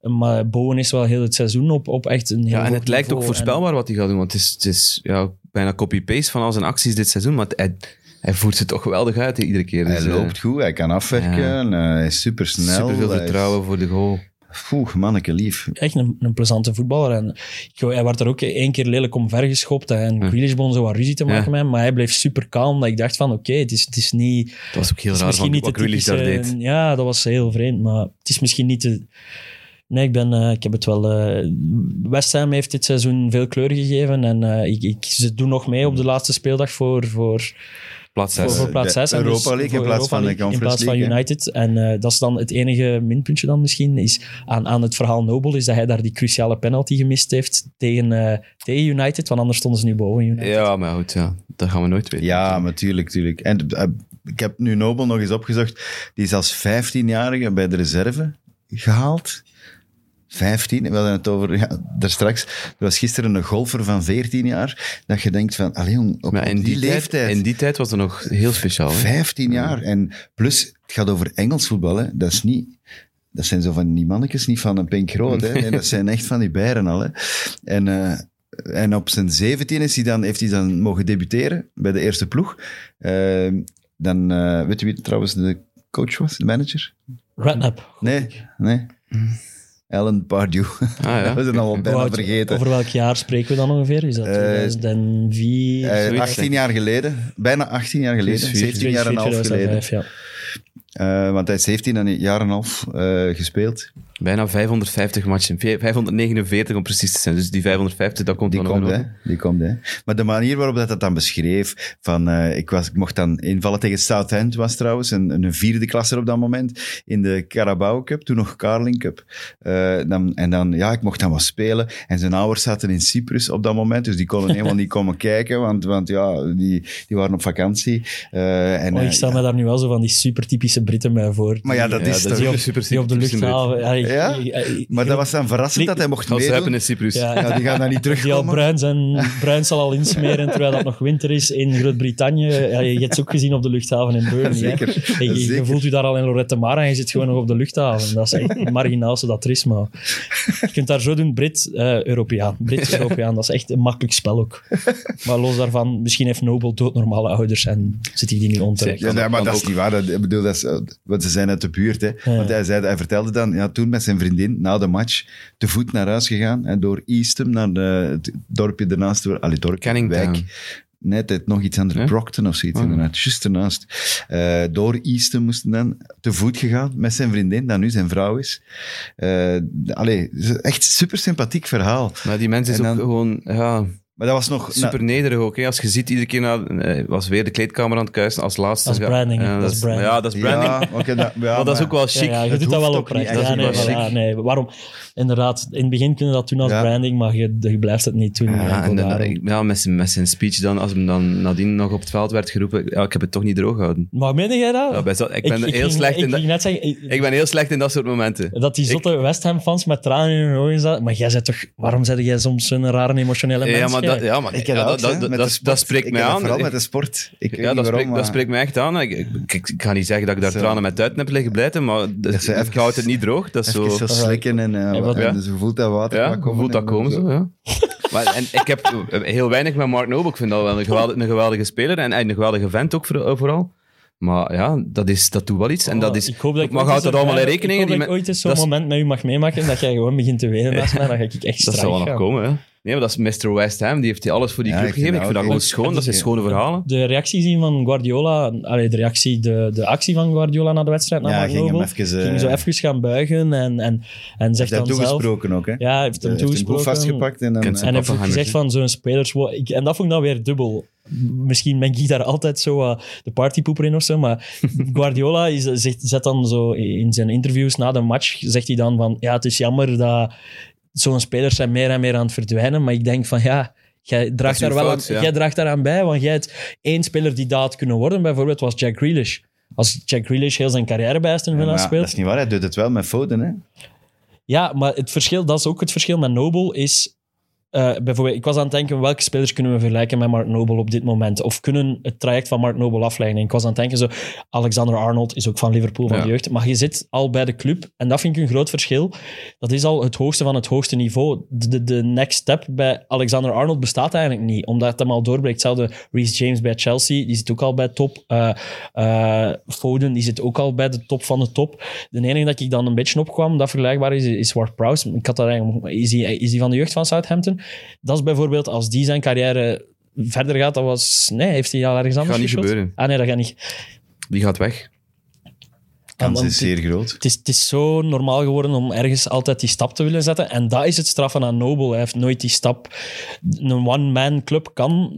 D: Maar Bowen is wel heel het seizoen op, op echt een heel
C: Ja, en
D: hoog
C: het lijkt ook
D: niveau. En-
C: voorspelbaar wat hij gaat doen, want het is, het is ja, bijna copy-paste van al zijn acties dit seizoen. Maar het- hij, Hij voert ze toch geweldig uit hè, iedere keer.
B: Hij
C: Dus, eh,
B: loopt goed, hij kan afwerken, eh, hij is supersnel.
C: Superveel
B: hij is-
C: vertrouwen voor de goal.
B: Oeh, manneke lief.
D: echt een, een plezante voetballer. En ik- hij werd er ook één keer lelijk omvergeschopt en Grealish begon zo wat ruzie te maken
C: Ja.
D: met hem, maar hij bleef super kalm, dat ik dacht van oké, het, is, het is niet...
C: Het was ook heel
D: het is
C: raar
D: misschien
C: van
D: niet
C: wat
D: de
C: Grealish daar
D: typische-
C: deed.
D: Ja, dat was heel vreemd, maar het is misschien niet de... Nee, ik, ben, eh, ik heb het wel... eh, West Ham heeft dit seizoen veel kleur gegeven en eh, ik, ik, ze doen nog mee op de laatste speeldag voor... voor
C: Plaats
D: voor,
C: zes.
D: voor plaats
B: Eh, de
D: 6 en
B: Europa
D: dus
B: League in
D: voor
B: plaats van de
D: League in
B: Conference
D: plaats van
B: League, hè.
D: United. En eh, dat is dan het enige minpuntje dan misschien is aan, aan het verhaal Nobel is dat hij daar die cruciale penalty gemist heeft tegen, eh, tegen United, want anders stonden ze nu boven United.
C: Ja, maar goed, ja. dat gaan we nooit weten.
B: Ja, maar tuurlijk, tuurlijk. En eh, ik heb nu Nobel nog eens opgezocht. Die is als 15-jarige bij de reserve gehaald. 15, we hadden het over ja, daar straks. Er was gisteren een golfer van 14 jaar. Dat je denkt van, allee jong, op,
C: Maar
B: op
C: in
B: die,
C: die, tijd,
B: leeftijd.
C: In die tijd was het nog heel speciaal. hè.
B: 15 jaar. En plus, het gaat over Engels voetbal. Hè. Dat is niet... Dat zijn zo van die mannetjes, niet van een pink rood. Hè. Nee, dat zijn echt van die bieren al. Hè. En, eh, en op zijn 17 is hij dan, heeft hij dan mogen debuteren bij de eerste ploeg. Eh, dan, eh, weet je wie trouwens de coach was, de manager?
D: Redknapp.
B: Nee, nee. Alan Pardew. [laughs]
C: Ah,
B: dat
C: Hmm. ja.
B: was het al bijna
D: Hoe oud-
B: vergeten.
D: Over welk jaar spreken we dan ongeveer? Is dat
B: Eh,
D: 2004?
B: Eh,
C: zoiets.
B: 18 jaar geleden, bijna 18 jaar geleden,
C: 2004,
B: 17 jaar en een half
D: 2004,
B: geleden.
D: 2005, ja.
B: Eh, want hij heeft 17 en een jaar en een half eh, gespeeld.
C: Bijna 550 matchen. Vij- 549 om precies te zijn. Dus die 550, dat komt
B: Die
C: dan
B: komt,
C: nog
B: hè? Die komt, hè? Maar de manier waarop dat, dat dan beschreef, van eh, ik, was, ik mocht dan invallen tegen Southend, was trouwens een, een vierde klasser op dat moment, in de Carabao Cup, toen nog Carling Cup. Eh, dan, en dan, ja, ik mocht dan wat spelen. En zijn ouders zaten in Cyprus op dat moment, dus die konden helemaal [laughs] niet komen kijken, want, want ja, die, die waren op vakantie. Eh, en,
D: Maar
B: eh,
D: Oh, ik stel me daar nu wel zo van die super typische Britten mij voor.
B: Maar ja, dat
C: Ja,
B: is
C: dat
B: toch...
D: die op,
C: super
D: die op de
C: typische
D: luchthaven. Ja, ik-
B: Ja?
D: ik- ik-
B: Maar dat was dan verrassend dat hij mocht
C: Gaan ze hebben
B: meedoen.
C: in Cyprus.
D: Ja,
B: Ja, die gaan daar niet
D: Die al
B: terugkomen. [laughs]
D: bruin, zijn, bruin zal al insmeren terwijl het nog winter is in Groot-Brittannië. Ja, je hebt het ook gezien op de luchthaven in Burnley. hè.
B: Zeker,
D: Je, je
B: zeker.
D: voelt je daar al in Lorette Mar en je zit gewoon nog op de luchthaven. Dat is echt het marginaalste dat er is. Maar je kunt daar zo doen, Brit, eh, Europeaan. Brit, Europeaan, dat is echt een makkelijk spel ook. Maar los daarvan, misschien heeft Nobel doodnormale ouders en zit hij die niet onterecht.
C: Zeker.
B: Ja, nee, maar
C: kan
B: dat is
C: ook.
B: niet waar. Dat, ik bedoel, dat is, eh, want ze zijn uit de buurt. Hè. Want hij, zei, hij vertelde dan, ja, toen met zijn vriendin na de match te voet naar huis gegaan en door Eastham naar de, het dorpje daarnaast. Allee, dorp,
C: Cannington.
B: wijk. Nee, het heet nog iets anders.
C: Ja?
B: Brockton of zoiets,
C: Oh.
B: inderdaad. Juist ernaast. Eh, door Eastham moesten dan te voet gegaan met zijn vriendin, dat nu zijn vrouw is. Eh allee, echt super sympathiek verhaal.
C: Maar die mensen is
B: En dan- Nou.
C: ook gewoon ja,
B: Maar dat was nog...
C: super nederig ook. Hè. Als je ziet, iedere keer na, eh, was weer de kleedkamer aan het kuisen als laatste.
D: Dat is
C: Ja,
D: branding, hè.
C: ja,
D: Dat is branding.
C: Ja, dat is branding.
B: Ja, oké, dat, ja,
C: [laughs] maar dat is
B: maar-
C: ook wel
D: Ja,
C: chic.
D: ja, je
B: Het
D: doet dat wel
B: hoeft ook
D: oprecht.
B: niet echt.
D: Ja,
C: Dat
D: nee,
C: is wel
D: voilà,
C: chic.
D: nee. Waarom? Inderdaad, in het begin kunnen we dat doen als
B: Ja.
D: branding, maar je, je blijft het niet doen.
C: Ja,
D: enkel
B: eh,
C: en dan,
D: daarom.
C: ik- ja met, zijn, met zijn speech dan, als hem dan nadien nog op het veld werd geroepen, ja, ik heb het toch niet droog gehouden.
D: Maar meen jij dat?
C: Ja, bij zo- ik ben heel
D: ging-
C: slecht
D: ik
C: in dat-
D: ging net zeggen, ik-
C: Ik ben heel slecht in dat soort momenten.
D: dat die zotte West Ham fans met tranen in hun ogen zaten. Maar jij zei toch, waarom zei jij soms zo'n rare emotionele mens?
C: Ja, maar dat,
D: jij?
C: ja, maar,
B: Ik heb
C: ja,
B: dat,
C: dat,
B: ook, hè,
C: dat,
B: met de
C: dat, dat
B: sport.
C: spreekt
B: Ik
C: mij
B: heb dat
C: aan.
B: Vooral met de sport. Ik weet niet
C: Ja, dat
B: waarom,
C: spreekt, dat
B: maar-
C: spreekt mij echt aan. Ik, ik, ik- ik ga niet zeggen dat ik daar
B: Zo.
C: tranen met uit heb liggen blijten, maar dat,
B: is
C: ik
B: even-
C: houd het niet droog. Dat is
B: Even
C: zo...
B: zo slikken en, eh,
D: wat-
B: en
C: Ja.
B: dus je voelt dat water
C: Ja,
B: maar
C: je voelt dat
B: en
C: komen zo, ja. [laughs] maar, en ik heb eh, heel weinig met Mark Noble. Ik vind dat wel een geweldige, een geweldige speler en, en een geweldige vent ook voor- eh, vooral. Maar ja, dat, is, dat doet wel iets. En dat is,
D: Oh, ik hoop dat ik
C: maar
D: ooit
C: houdt
D: eens
C: dat
D: een-
C: allemaal in rekening?
D: Ik hoop
C: Die
D: dat ik
C: men-
D: ooit eens zo'n
C: dat is-
D: moment met u mag meemaken dat jij gewoon begint te wenen
C: [laughs]
D: naast mij. Dan ga ik echt
C: dat
D: straks
C: zal wel nog komen, hè. Nee, maar dat is Mr. West Ham. Die heeft hij alles voor die
B: Ja,
C: club
B: ik vind
C: gegeven. Ik
B: dat
C: vind dat
B: ook
C: gewoon
B: echt-
C: schoon. Dat zijn schone verhalen.
D: De reactie zien van Guardiola, allee, de reactie, de, de actie van Guardiola na de wedstrijd, na
B: Ja,
D: Mark
B: ging hem
D: Noble,
B: even, eh,
D: ging zo even gaan buigen en, en, en
B: Hij
D: zegt
B: heeft
D: dan zelf...
B: toegesproken ook, hè?
D: Ja, hij heeft hem
B: Hij heeft hem goed
D: toegesproken.
B: vastgepakt en dan...
C: Kent
B: eh,
C: zijn
D: En heeft
C: papa
D: ook
C: gaan
D: gezegd van
C: misschien.
D: zo'n spelers... wow, ik- En dat vond ik dan weer dubbel. Misschien ben ik daar altijd zo eh, de partypoeper in of zo,
C: [laughs]
D: maar Guardiola is, zegt, zet dan zo in zijn interviews na de match, zegt hij dan van ja, het is jammer dat zo'n spelers zijn meer en meer aan het verdwijnen, maar ik denk van ja, jij draagt,
C: uw
D: daar wel
C: fout,
D: aan,
C: ja.
D: jij draagt daaraan bij, want jij hebt één speler die daad kunnen worden, bijvoorbeeld was Jack Grealish. Als Jack Grealish heel zijn carrière bij Aston Villa
B: maar ja, dat
D: speelt,
B: is niet waar, hij doet het wel met fouten, hè?
D: ja, maar het verschil, dat is ook het verschil met Nobel, is eh, bijvoorbeeld, ik was aan het denken, welke spelers kunnen we vergelijken met Mark Noble op dit moment? Of kunnen het traject van Mark Noble afleiden? En ik was aan het denken, zo, Alexander Arnold is ook van Liverpool, van
C: Ja.
D: de jeugd. Maar je zit al bij de club, en dat vind ik een groot verschil. Dat is al het hoogste van het hoogste niveau. De, de, de next step bij Alexander Arnold bestaat eigenlijk niet, omdat hem al doorbreekt. Hetzelfde Reece James bij Chelsea, die zit ook al bij top. Eh, eh, Foden, die zit ook al bij de top van de top. De enige dat ik dan een beetje opkwam, dat vergelijkbaar is, is Ward Prowse. Ik had dat eigenlijk, is die, is die van de jeugd van Southampton? Dat is bijvoorbeeld, als die zijn carrière verder gaat, dat was... Nee, heeft hij al ergens anders
C: niet
D: gespeeld?
C: gebeuren.
D: Ah nee, dat gaat niet.
C: Die gaat weg.
B: kans
D: Want
B: is zeer groot.
D: het is, het is zo normaal geworden om ergens altijd die stap te willen zetten. En dat is het straffen aan Noble. Hij heeft nooit die stap. Een one-man club kan,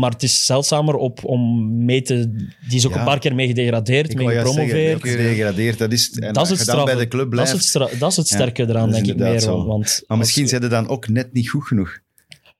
D: maar het is zeldzamer op, om mee te. Die is ook
B: Ja.
D: een paar keer mee gedegradeerd,
B: Ik
D: mee
B: wou juist
D: gepromoveerd.
B: zeggen, gedegradeerd, dat is, en
D: dat
B: als
D: is
B: je
D: het
B: dan
D: straffen.
B: bij de club
D: dat,
B: blijft.
D: is het stra- dat is het
B: Ja,
D: sterke eraan,
B: dat is
D: denk ik meer.
B: inderdaad zo.
D: Want
B: maar
D: als-
B: misschien zijn ze dan ook net niet goed genoeg.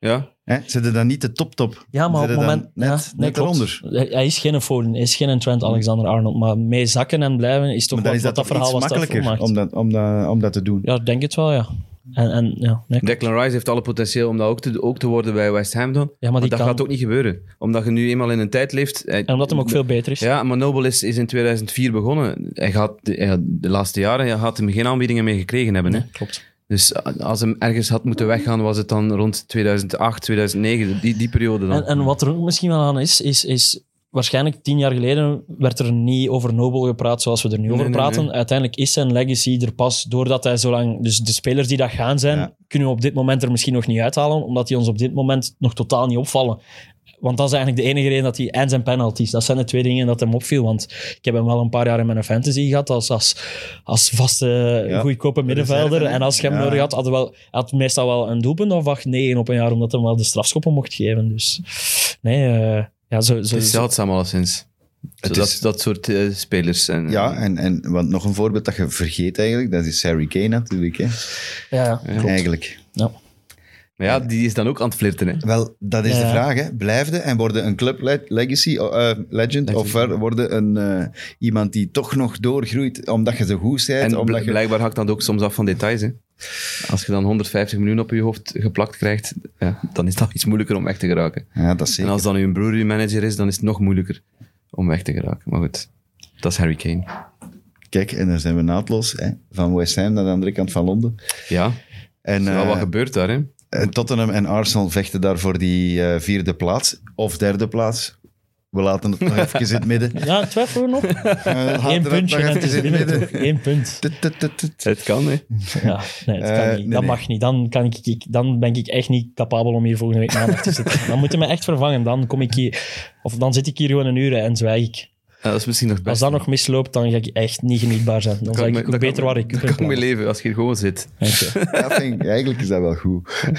C: Ja.
B: Hè? Zijn ze dan niet de top-top?
D: Ja, maar op
B: Zijn
D: het
B: ze dan
D: moment...
B: Net,
D: ja, nee,
B: net
D: klopt.
B: eronder.
D: Hij hij is geen Foden, hij is geen Trent Alexander-Arnold, maar mee zakken en blijven is toch
B: Maar dan
D: wat,
B: is dat, toch
D: wat dat verhaal
B: iets
D: was dat
B: makkelijker
D: maakt.
B: om dat, om, dat, om dat te doen.
D: Ja, ik denk het wel, ja. En, en, ja, nee,
C: Declan Rice heeft alle potentieel om dat ook te, ook te worden bij West Ham dan.
D: die
C: maar dat
D: kan-
C: gaat ook niet gebeuren. Omdat je nu eenmaal in een tijd leeft... hij-
D: en omdat hem ook veel beter is.
C: Ja, maar Noble is, is in 2004 begonnen. Hij gaat, hij had- de laatste jaren hij had hem geen aanbiedingen meer gekregen hebben. Hè?
D: Nee, klopt.
C: Dus a- als hem ergens had moeten weggaan, was het dan rond 2008, 2009, die, die periode dan.
D: En, en wat er ook misschien wel aan is, is, is waarschijnlijk tien jaar geleden werd er niet over Noble gepraat zoals we er nu over
C: nee,
D: praten.
C: nee.
D: Uiteindelijk is zijn legacy er pas doordat hij zo lang... Dus de spelers die dat gaan zijn,
B: Ja.
D: kunnen we op dit moment er misschien nog niet uithalen, omdat die ons op dit moment nog totaal niet opvallen. Want dat is eigenlijk de enige reden dat hij... En zijn penalties. Dat zijn de twee dingen dat hem opviel. Want ik heb hem wel een paar jaar in mijn fantasy gehad als, als, als vaste
B: Ja.
D: goedkope middenvelder.
B: Reserve, hè?
D: En als je hem
B: Ja.
D: nodig had, had hij wel, hij had meestal wel een doelpunt of acht, negen op een jaar, omdat hij hem wel de strafschoppen mocht geven. Dus nee, eh, ja, zo, zo,
C: het is
D: zo-
C: zeldzaam alleszins.
B: Het
C: dat,
B: is-
C: dat soort eh, spelers. En,
B: Ja, en, en want nog een voorbeeld dat je vergeet eigenlijk, dat is Harry Kane natuurlijk. Hè?
D: ja, ja.
B: Eigenlijk.
D: Ja.
C: Maar ja, die is dan ook aan het flirten. Hè.
B: Wel, dat is
D: Ja,
B: de
D: ja.
B: vraag. Hè? Blijfde en worden een club le- legacy, eh, eh, legend, of ver- worden een, eh, iemand die toch nog doorgroeit omdat je zo goed bent?
C: En
B: omdat
C: bl-
B: je...
C: blijkbaar hangt dat ook soms af van details. Hè. Als je dan 150 miljoen op je hoofd geplakt krijgt, ja, dan is dat iets moeilijker om weg te geraken.
B: Ja, dat is
C: En
B: zeker.
C: als dan uw broer uw manager is, dan is het nog moeilijker om weg te geraken. Maar goed, dat is Harry Kane.
B: Kijk, en dan zijn we naadloos hè? van West Ham naar de andere kant van Londen.
C: Ja,
B: En
C: wel
B: eh,
C: wat gebeurt daar, hè?
B: eh, Tottenham en Arsenal vechten daar voor die eh, vierde plaats of derde plaats. We laten het
C: [laughs]
B: nog even in het midden.
D: ja twijfel er nog. Eén
B: Eén
D: puntje en
B: nog
D: het
B: even
D: is
B: in het
D: binnen. [laughs]
B: midden.
D: toch? Eén punt.
B: Tut, tut, tut, tut.
C: Het kan, hè?
D: Ja, nee, dat, kan
B: Eh,
D: niet.
B: nee, nee.
D: dat mag niet. Dan, kan ik, ik, dan ben ik echt niet capabel om hier volgende week maandag te zitten. Dan moeten we me echt vervangen. Dan, kom ik hier, of dan zit ik hier gewoon een uur en zwijg ik.
C: dat is misschien nog het
D: Als
C: beste.
D: dat nog misloopt, dan ga ik echt niet genietbaar zijn. Dan
C: Kan
D: zal ik
C: me-
D: ook beter
C: kan,
D: waar ik
C: Dan kan ik mee leven als je hier gewoon
B: [laughs]
C: zit.
B: Ja, vind ik- eigenlijk is dat wel goed.
C: Dan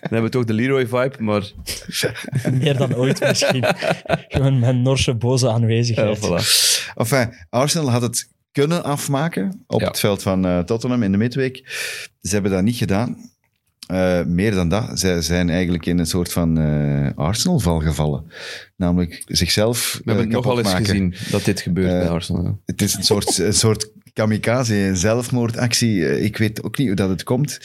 C: hebben we toch de Leroy-vibe, maar
D: Meer dan ooit misschien. Gewoon mijn Norse boze
C: ja,
D: aanwezigheid.
C: voilà.
B: Enfin, Arsenal had het kunnen afmaken op
C: Ja.
B: het veld van eh, Tottenham in de midweek. Ze hebben dat niet gedaan. Eh, meer dan dat, zij zijn eigenlijk in een soort van eh, Arsenal-val gevallen. Namelijk zichzelf
C: We hebben
B: eh,
C: het nogal
B: kapot
C: eens
B: maken.
C: gezien dat dit gebeurt
B: Eh,
C: bij Arsenal. ja.
B: Het is een soort, een soort kamikaze, een zelfmoordactie. Eh, Ik weet ook niet hoe dat het komt,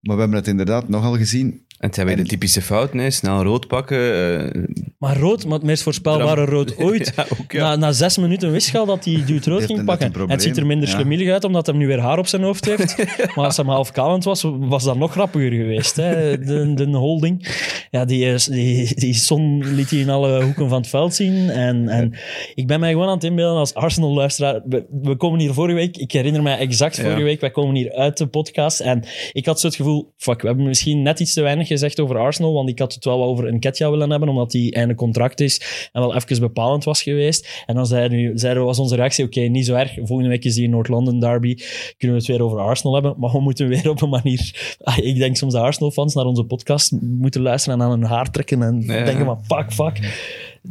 B: maar we hebben het inderdaad nogal gezien.
C: En het zijn weer
B: en-
C: de typische fouten, hè? snel rood pakken. eh,
D: Maar rood, maar het meest voorspelbare
C: Dram-
D: rood ooit.
C: [laughs] Ja, ook, ja.
D: na, na zes minuten wist je al
B: [laughs]
D: dat hij duwt rood
B: heeft
D: ging
B: net
D: pakken.
B: een
D: En
B: probleem,
D: het ziet er minder
B: ja.
D: schlemielig uit, omdat hij nu weer haar op zijn hoofd heeft.
B: [laughs]
D: Maar als hij maar half kalend was, was dat nog grappiger geweest. Hè? De, de holding. Ja, die, is- die, die zon liet hij in alle hoeken van het veld zien. En, en ik ben mij gewoon aan het inbeelden als Arsenal-luisteraar. We, we komen hier vorige week, ik herinner mij exact
C: Ja.
D: vorige week, wij komen hier uit de podcast. En ik had zo het gevoel, fuck, we hebben misschien net iets te weinig gezegd over Arsenal, want ik had het wel over een Ketja willen hebben, omdat die einde contract is en wel even bepalend was geweest. En dan zeiden we, zeiden we was onze reactie, oké, niet zo erg, volgende week is die Noord-London derby, kunnen we het weer over Arsenal hebben, maar we moeten weer op een manier... Ah, Ik denk soms dat Arsenal-fans naar onze podcast moeten luisteren en aan hun haar trekken en
C: Ja.
D: denken van, fuck, fuck.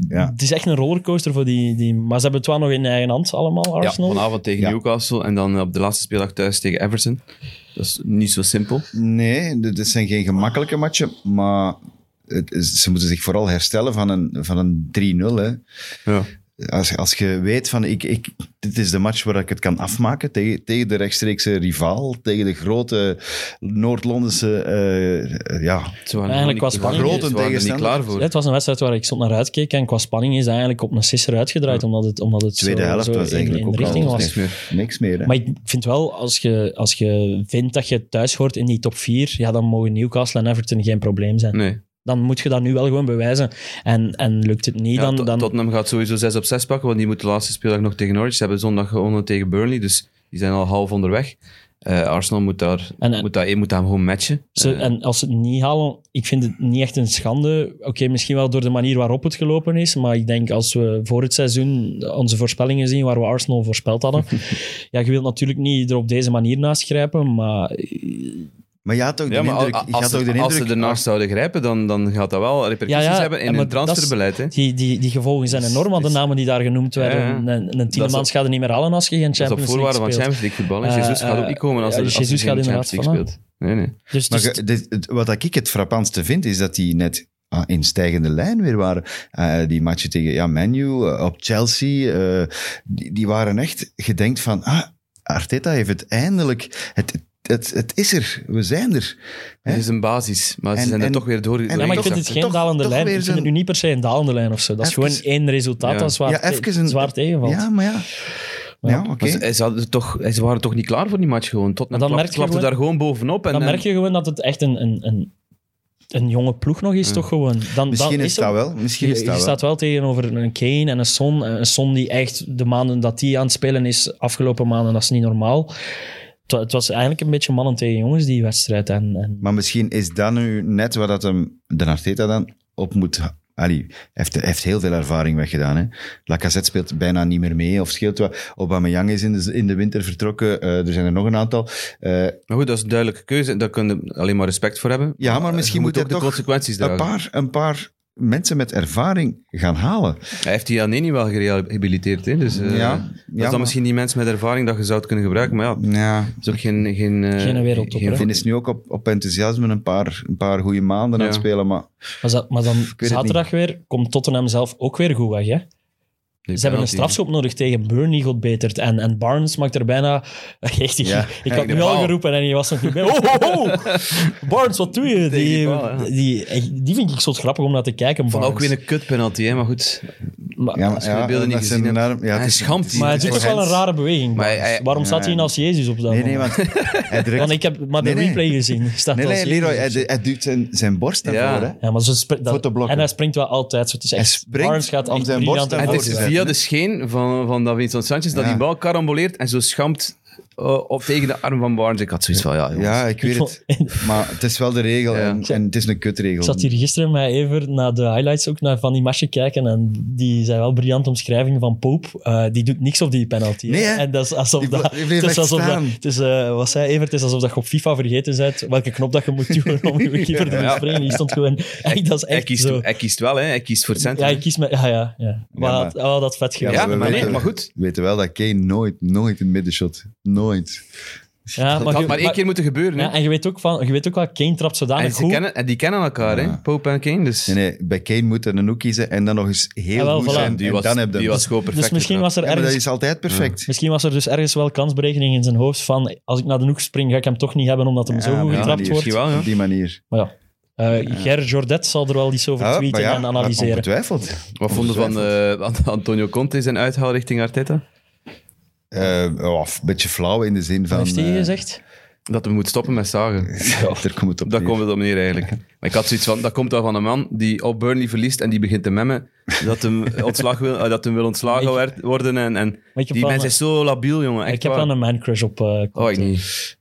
B: Ja.
D: Het is echt een rollercoaster voor die, die... Maar ze hebben het wel nog in eigen hand allemaal,
C: Ja,
D: Arsenal.
C: vanavond tegen
B: Ja.
C: Newcastle en dan op de laatste speeldag thuis tegen Everton. Dat is niet zo simpel.
B: Nee, dit dit zijn geen gemakkelijke matchen, maar het is- ze moeten zich vooral herstellen van een, van een 3-0. hè.
C: Ja.
B: Als, als je weet van, ik, ik, dit is de match waar ik het kan afmaken tegen, tegen de rechtstreekse rivaal, tegen de grote Noord-Londense, eh, ja,
C: Ze
D: Eigenlijk
C: waren gewoon niet-
D: was
C: ze waren
B: Grote
C: niet- ze waren er niet
B: tegenstander.
C: klaar voor.
D: Ja, het was een wedstrijd waar ik stond naar uitkeek. En qua spanning is dat eigenlijk op een sisser uitgedraaid. Omdat het, omdat het
B: tweede
D: zo,
B: helft
D: zo
B: was
D: in-
B: eigenlijk
D: in
B: ook
D: de richting
B: al
D: was.
B: niks meer. Niks meer hè.
D: Maar ik vind wel, als je, als je vindt dat je thuis hoort in die top 4, ja, dan mogen Newcastle en Everton geen probleem zijn.
C: Nee.
D: Dan moet je dat nu wel gewoon bewijzen. En, en lukt het niet,
C: Ja,
D: dan...
C: Tot-
D: dan
C: Tottenham gaat sowieso 6 op 6 pakken, want die moet de laatste speeldag nog tegen Norwich. Ze hebben zondag gewonnen tegen Burnley, dus die zijn al half onderweg. Eh, Arsenal moet daar,
D: En- eh, en-
C: moet daar, moet daar gewoon matchen.
D: ze,
C: Eh,
D: en als ze het niet halen, ik vind het niet echt een schande. Oké, misschien wel door de manier waarop het gelopen is. Maar ik denk als we voor het seizoen onze voorspellingen zien waar we Arsenal voorspeld hadden. ja, je wilt natuurlijk niet er op deze manier naast grijpen. Maar
B: Maar je had ook de
C: ja, maar
B: indruk...
C: als,
B: je had ook de
C: ze- als ze
B: indruk-
C: ernaast zouden grijpen, dan, dan gaat dat wel repercussies
D: Ja, ja,
C: Dus hebben in
D: maar
C: het
D: dat is-
C: transferbeleid. Hè. Dus
D: Die, die, die gevolgen zijn enorm, want de namen die daar genoemd werden.
C: Ja, ja.
D: Een, een
C: Dat
D: Tielemans gaat er niet meer halen als je geen
C: Dat is op
D: Champions League
C: voorwaarde van
D: speelt.
C: Champions League voetbal. hè.
D: Eh,
C: Jesus gaat ook
D: eh,
C: niet komen als,
D: ja,
C: er- als
D: Jesus
C: hij
D: gaat
C: geen
D: inderdaad
C: Champions League speelt. Nee, nee.
D: Dus,
B: Maar
D: dus
B: ge- dit- het- wat ik het frappantste vind, is dat die net ah, in stijgende lijn weer waren. Eh, die matchen tegen ja, Manu, op Chelsea, eh, die, die waren echt gedenkt van, ah, Arteta heeft het eindelijk... Het, het, het is er, we zijn er. Hè?
C: Dus Het is een basis, maar ze
B: En-
C: zijn er
B: en-
C: toch weer door.
B: Ja,
D: ja, maar ik
B: toch-
D: vind het geen
B: toch-
D: dalende
B: toch
D: lijn.
B: weer
D: Ik vind het nu
B: zo'n-
D: niet per se een dalende lijn of zo. Dat is
B: Even-
D: gewoon één resultaat
C: Ja.
D: dat zwaar,
B: Ja, even een-
D: zwaar tegenvalt.
B: Ja, maar ja. Ja, oké.
C: Maar ze, ze hadden toch, ze waren toch niet klaar voor die match gewoon. Tot
D: Maar dan
C: klapte,
D: merk je
C: klapte
D: gewoon-
C: daar gewoon bovenop. En, eh,
D: dan
C: en-
D: merk je gewoon dat het echt een, een, een, een jonge ploeg nog is, toch gewoon. Dan,
B: Misschien
D: dan
B: is
D: het
B: dat wel. Misschien
D: Je,
B: is
D: je
B: dat wel.
D: staat wel tegenover een Kane en een Son. Een Son die echt de maanden dat die aan het spelen is, afgelopen maanden, dat is niet normaal. Het, wa- het was eigenlijk een beetje mannen tegen jongens, die wedstrijd. En, en
B: Maar misschien is dat nu net waar dat hem, de Arteta dan op moet... Ali heeft, heeft heel veel ervaring weggedaan. Hè. Lacazette speelt bijna niet meer mee, of scheelt wat. Aubameyang is in de, in de winter vertrokken. Eh, er zijn er nog een aantal. Eh,
C: Maar goed, dat is een duidelijke keuze. en Daar kunnen we alleen maar respect voor hebben.
B: ja, maar
C: Je
B: misschien
C: moet
B: moet,
C: ook de
B: hij toch
C: consequenties
B: een
C: dragen.
B: paar, een paar mensen met ervaring gaan halen.
C: Hij heeft die Aneni wel gerehabiliteerd. Hè? Dus, eh,
B: Ja,
C: dat is
B: ja,
C: dan
B: maar-
C: misschien die mensen met ervaring dat je zou het kunnen gebruiken. Maar ja, het
B: Ja.
C: is ook geen... Geen, eh,
D: Geen wereldtopper, hè?
B: Ik vind het nu ook op, op enthousiasme een paar, een paar goede maanden aan het
C: Ja.
B: spelen, maar
D: maar, za- maar dan
B: het
D: zaterdag weer komt Tottenham zelf ook weer goed weg. Hè? Ze hebben een strafschop nodig tegen Burnley, godbeterd. En, en Barnes maakt er bijna... [laughs] Echt, ik,
B: Ja,
D: ik had
C: kijk, de
D: nu al
C: paal.
D: geroepen en je was nog niet bij. Oh, oh, oh. [laughs] Barnes, wat doe je? Die,
C: die
D: die,
C: paal, ja.
D: echt, die vind ik zo grappig om naar te kijken,
C: Van
D: Barnes.
C: ook weer een kutpenalty, hè? maar goed.
D: Maar-
B: Ja, maar,
C: Als je de beelden
B: dat
C: niet
B: zijn
C: gezien
B: de
C: hebt.
B: arm- ja,
C: Hij
B: het is-
C: schampt.
B: het is-
D: Maar het
B: het
D: is toch
B: voor
D: wel een
B: hen.
D: rare beweging.
C: Maar
D: Barnes.
C: hij-
D: Waarom staat
B: ja.
D: hij in als Jezus op dat
B: Nee, nee,
D: moment?
C: [laughs]
B: want hij drukt...
D: Want ik heb maar de
B: Nee, nee.
D: replay gezien. [laughs] Hij Staat
B: nee,
D: als
B: nee,
D: Jezus
B: Leroy, eh,
D: op
B: hij,
D: zich.
B: hij duwt zijn, zijn borst naar
C: Ja.
B: voren. hè.
D: ja, maar ze spri- dat-
B: Voor te blokken.
D: en hij springt wel altijd. Zo, het is echt,
B: Hij springt
D: Barnes gaat
B: om
D: echt
B: zijn
D: briljant
B: borst
C: En
B: en
D: ervoor.
C: het
B: Voorzet,
C: is
B: hè?
C: via de scheen van, van dat Vincent Sanchez dat
B: Ja.
C: die bal karamboleert en zo schampt eh, op tegen de arm van Barnes. Ik had zoiets van, ja, jongens.
B: Ja, ik weet
D: [laughs]
B: het. Maar het is wel de regel
C: Ja.
B: en, en het is een kutregel.
D: Ik zat hier gisteren met even naar de highlights ook naar van die matchen kijken. En die zijn wel briljant omschrijving van Pope. Eh, die doet niks op die penalty. hè.
B: Nee, hè?
D: en dat is alsof
B: Die
D: dat.
B: ble- die bleef
D: Het is
B: echt
D: alsof dat.
B: staan.
D: Het is, eh, wat zei Evert? Het is alsof dat je op FIFA vergeten bent welke knop dat je moet duwen om je keeper te
C: Ja.
D: bespringen. Die stond gewoon. Echt, dat is
C: hij,
D: echt
C: kiest,
D: zo.
C: hij kiest wel, hè. hij kiest voor het centrum.
D: Ja, ik kies met. Ja, ja, ja. Maar,
B: maar-
D: dat- oh, dat is vet
C: Ja,
D: geweest.
B: we
C: maar, nee,
B: weten-
C: maar goed.
B: We weten wel dat Kane nooit, nooit een middenshot. Nooit.
D: Ja,
C: Het
D: je-
C: had maar één keer moeten gebeuren. hè.
D: Ja, en je weet ook, van, je weet ook wel, Kane trapt
C: en,
D: zodanig
C: ze
D: goed.
C: kennen, en die kennen elkaar, hè?
B: Ja.
C: Pope en Kane. Dus
B: Nee, nee, bij Kane moet er een hoek kiezen en dan nog eens heel
D: Ah, wel,
B: goed
D: voilà.
B: zijn.
C: die
B: en
C: was,
B: dan heb je
C: die
B: hem.
C: was gewoon perfect.
D: Dus misschien was, er
B: Ja, maar dat
D: ergens,
B: is altijd perfect.
D: misschien was er dus ergens wel kansberekening in zijn hoofd van als ik naar de hoek spring, ga ik hem toch niet hebben omdat hem zo
B: Ja,
D: goed
B: maar ja,
D: getrapt
B: die-
D: wordt.
C: misschien wel, ja.
B: Op die manier.
D: Maar ja, eh, Ger Jordet zal er wel iets over
B: Ah,
D: tweeten
B: maar ja,
D: en analyseren.
B: Ongetwijfeld.
C: Wat vonden we van eh, [laughs] van Antonio Conte zijn uithaal richting Arteta?
B: Eh, ja, een beetje flauw in de zin van...
D: Wat heeft hij
B: eh,
D: gezegd?
C: Dat we moeten stoppen met zagen.
B: [laughs] daar komt het op
C: Dat
B: neer.
C: komt het op neer eigenlijk. Maar ik had zoiets van, dat komt wel van een man die op Burnley verliest en die begint te memmen dat hem, ontslag wil, eh, dat hem wil ontslagen
D: Ik-
C: werd- worden. En, en
D: Maar ik heb
C: die
D: wel
C: mensen
D: een-
C: is zo labiel, jongen. Echt
D: Ik heb
C: waar.
D: wel een mancrush op. eh,
C: Oh,
D: Conte.
C: ik niet.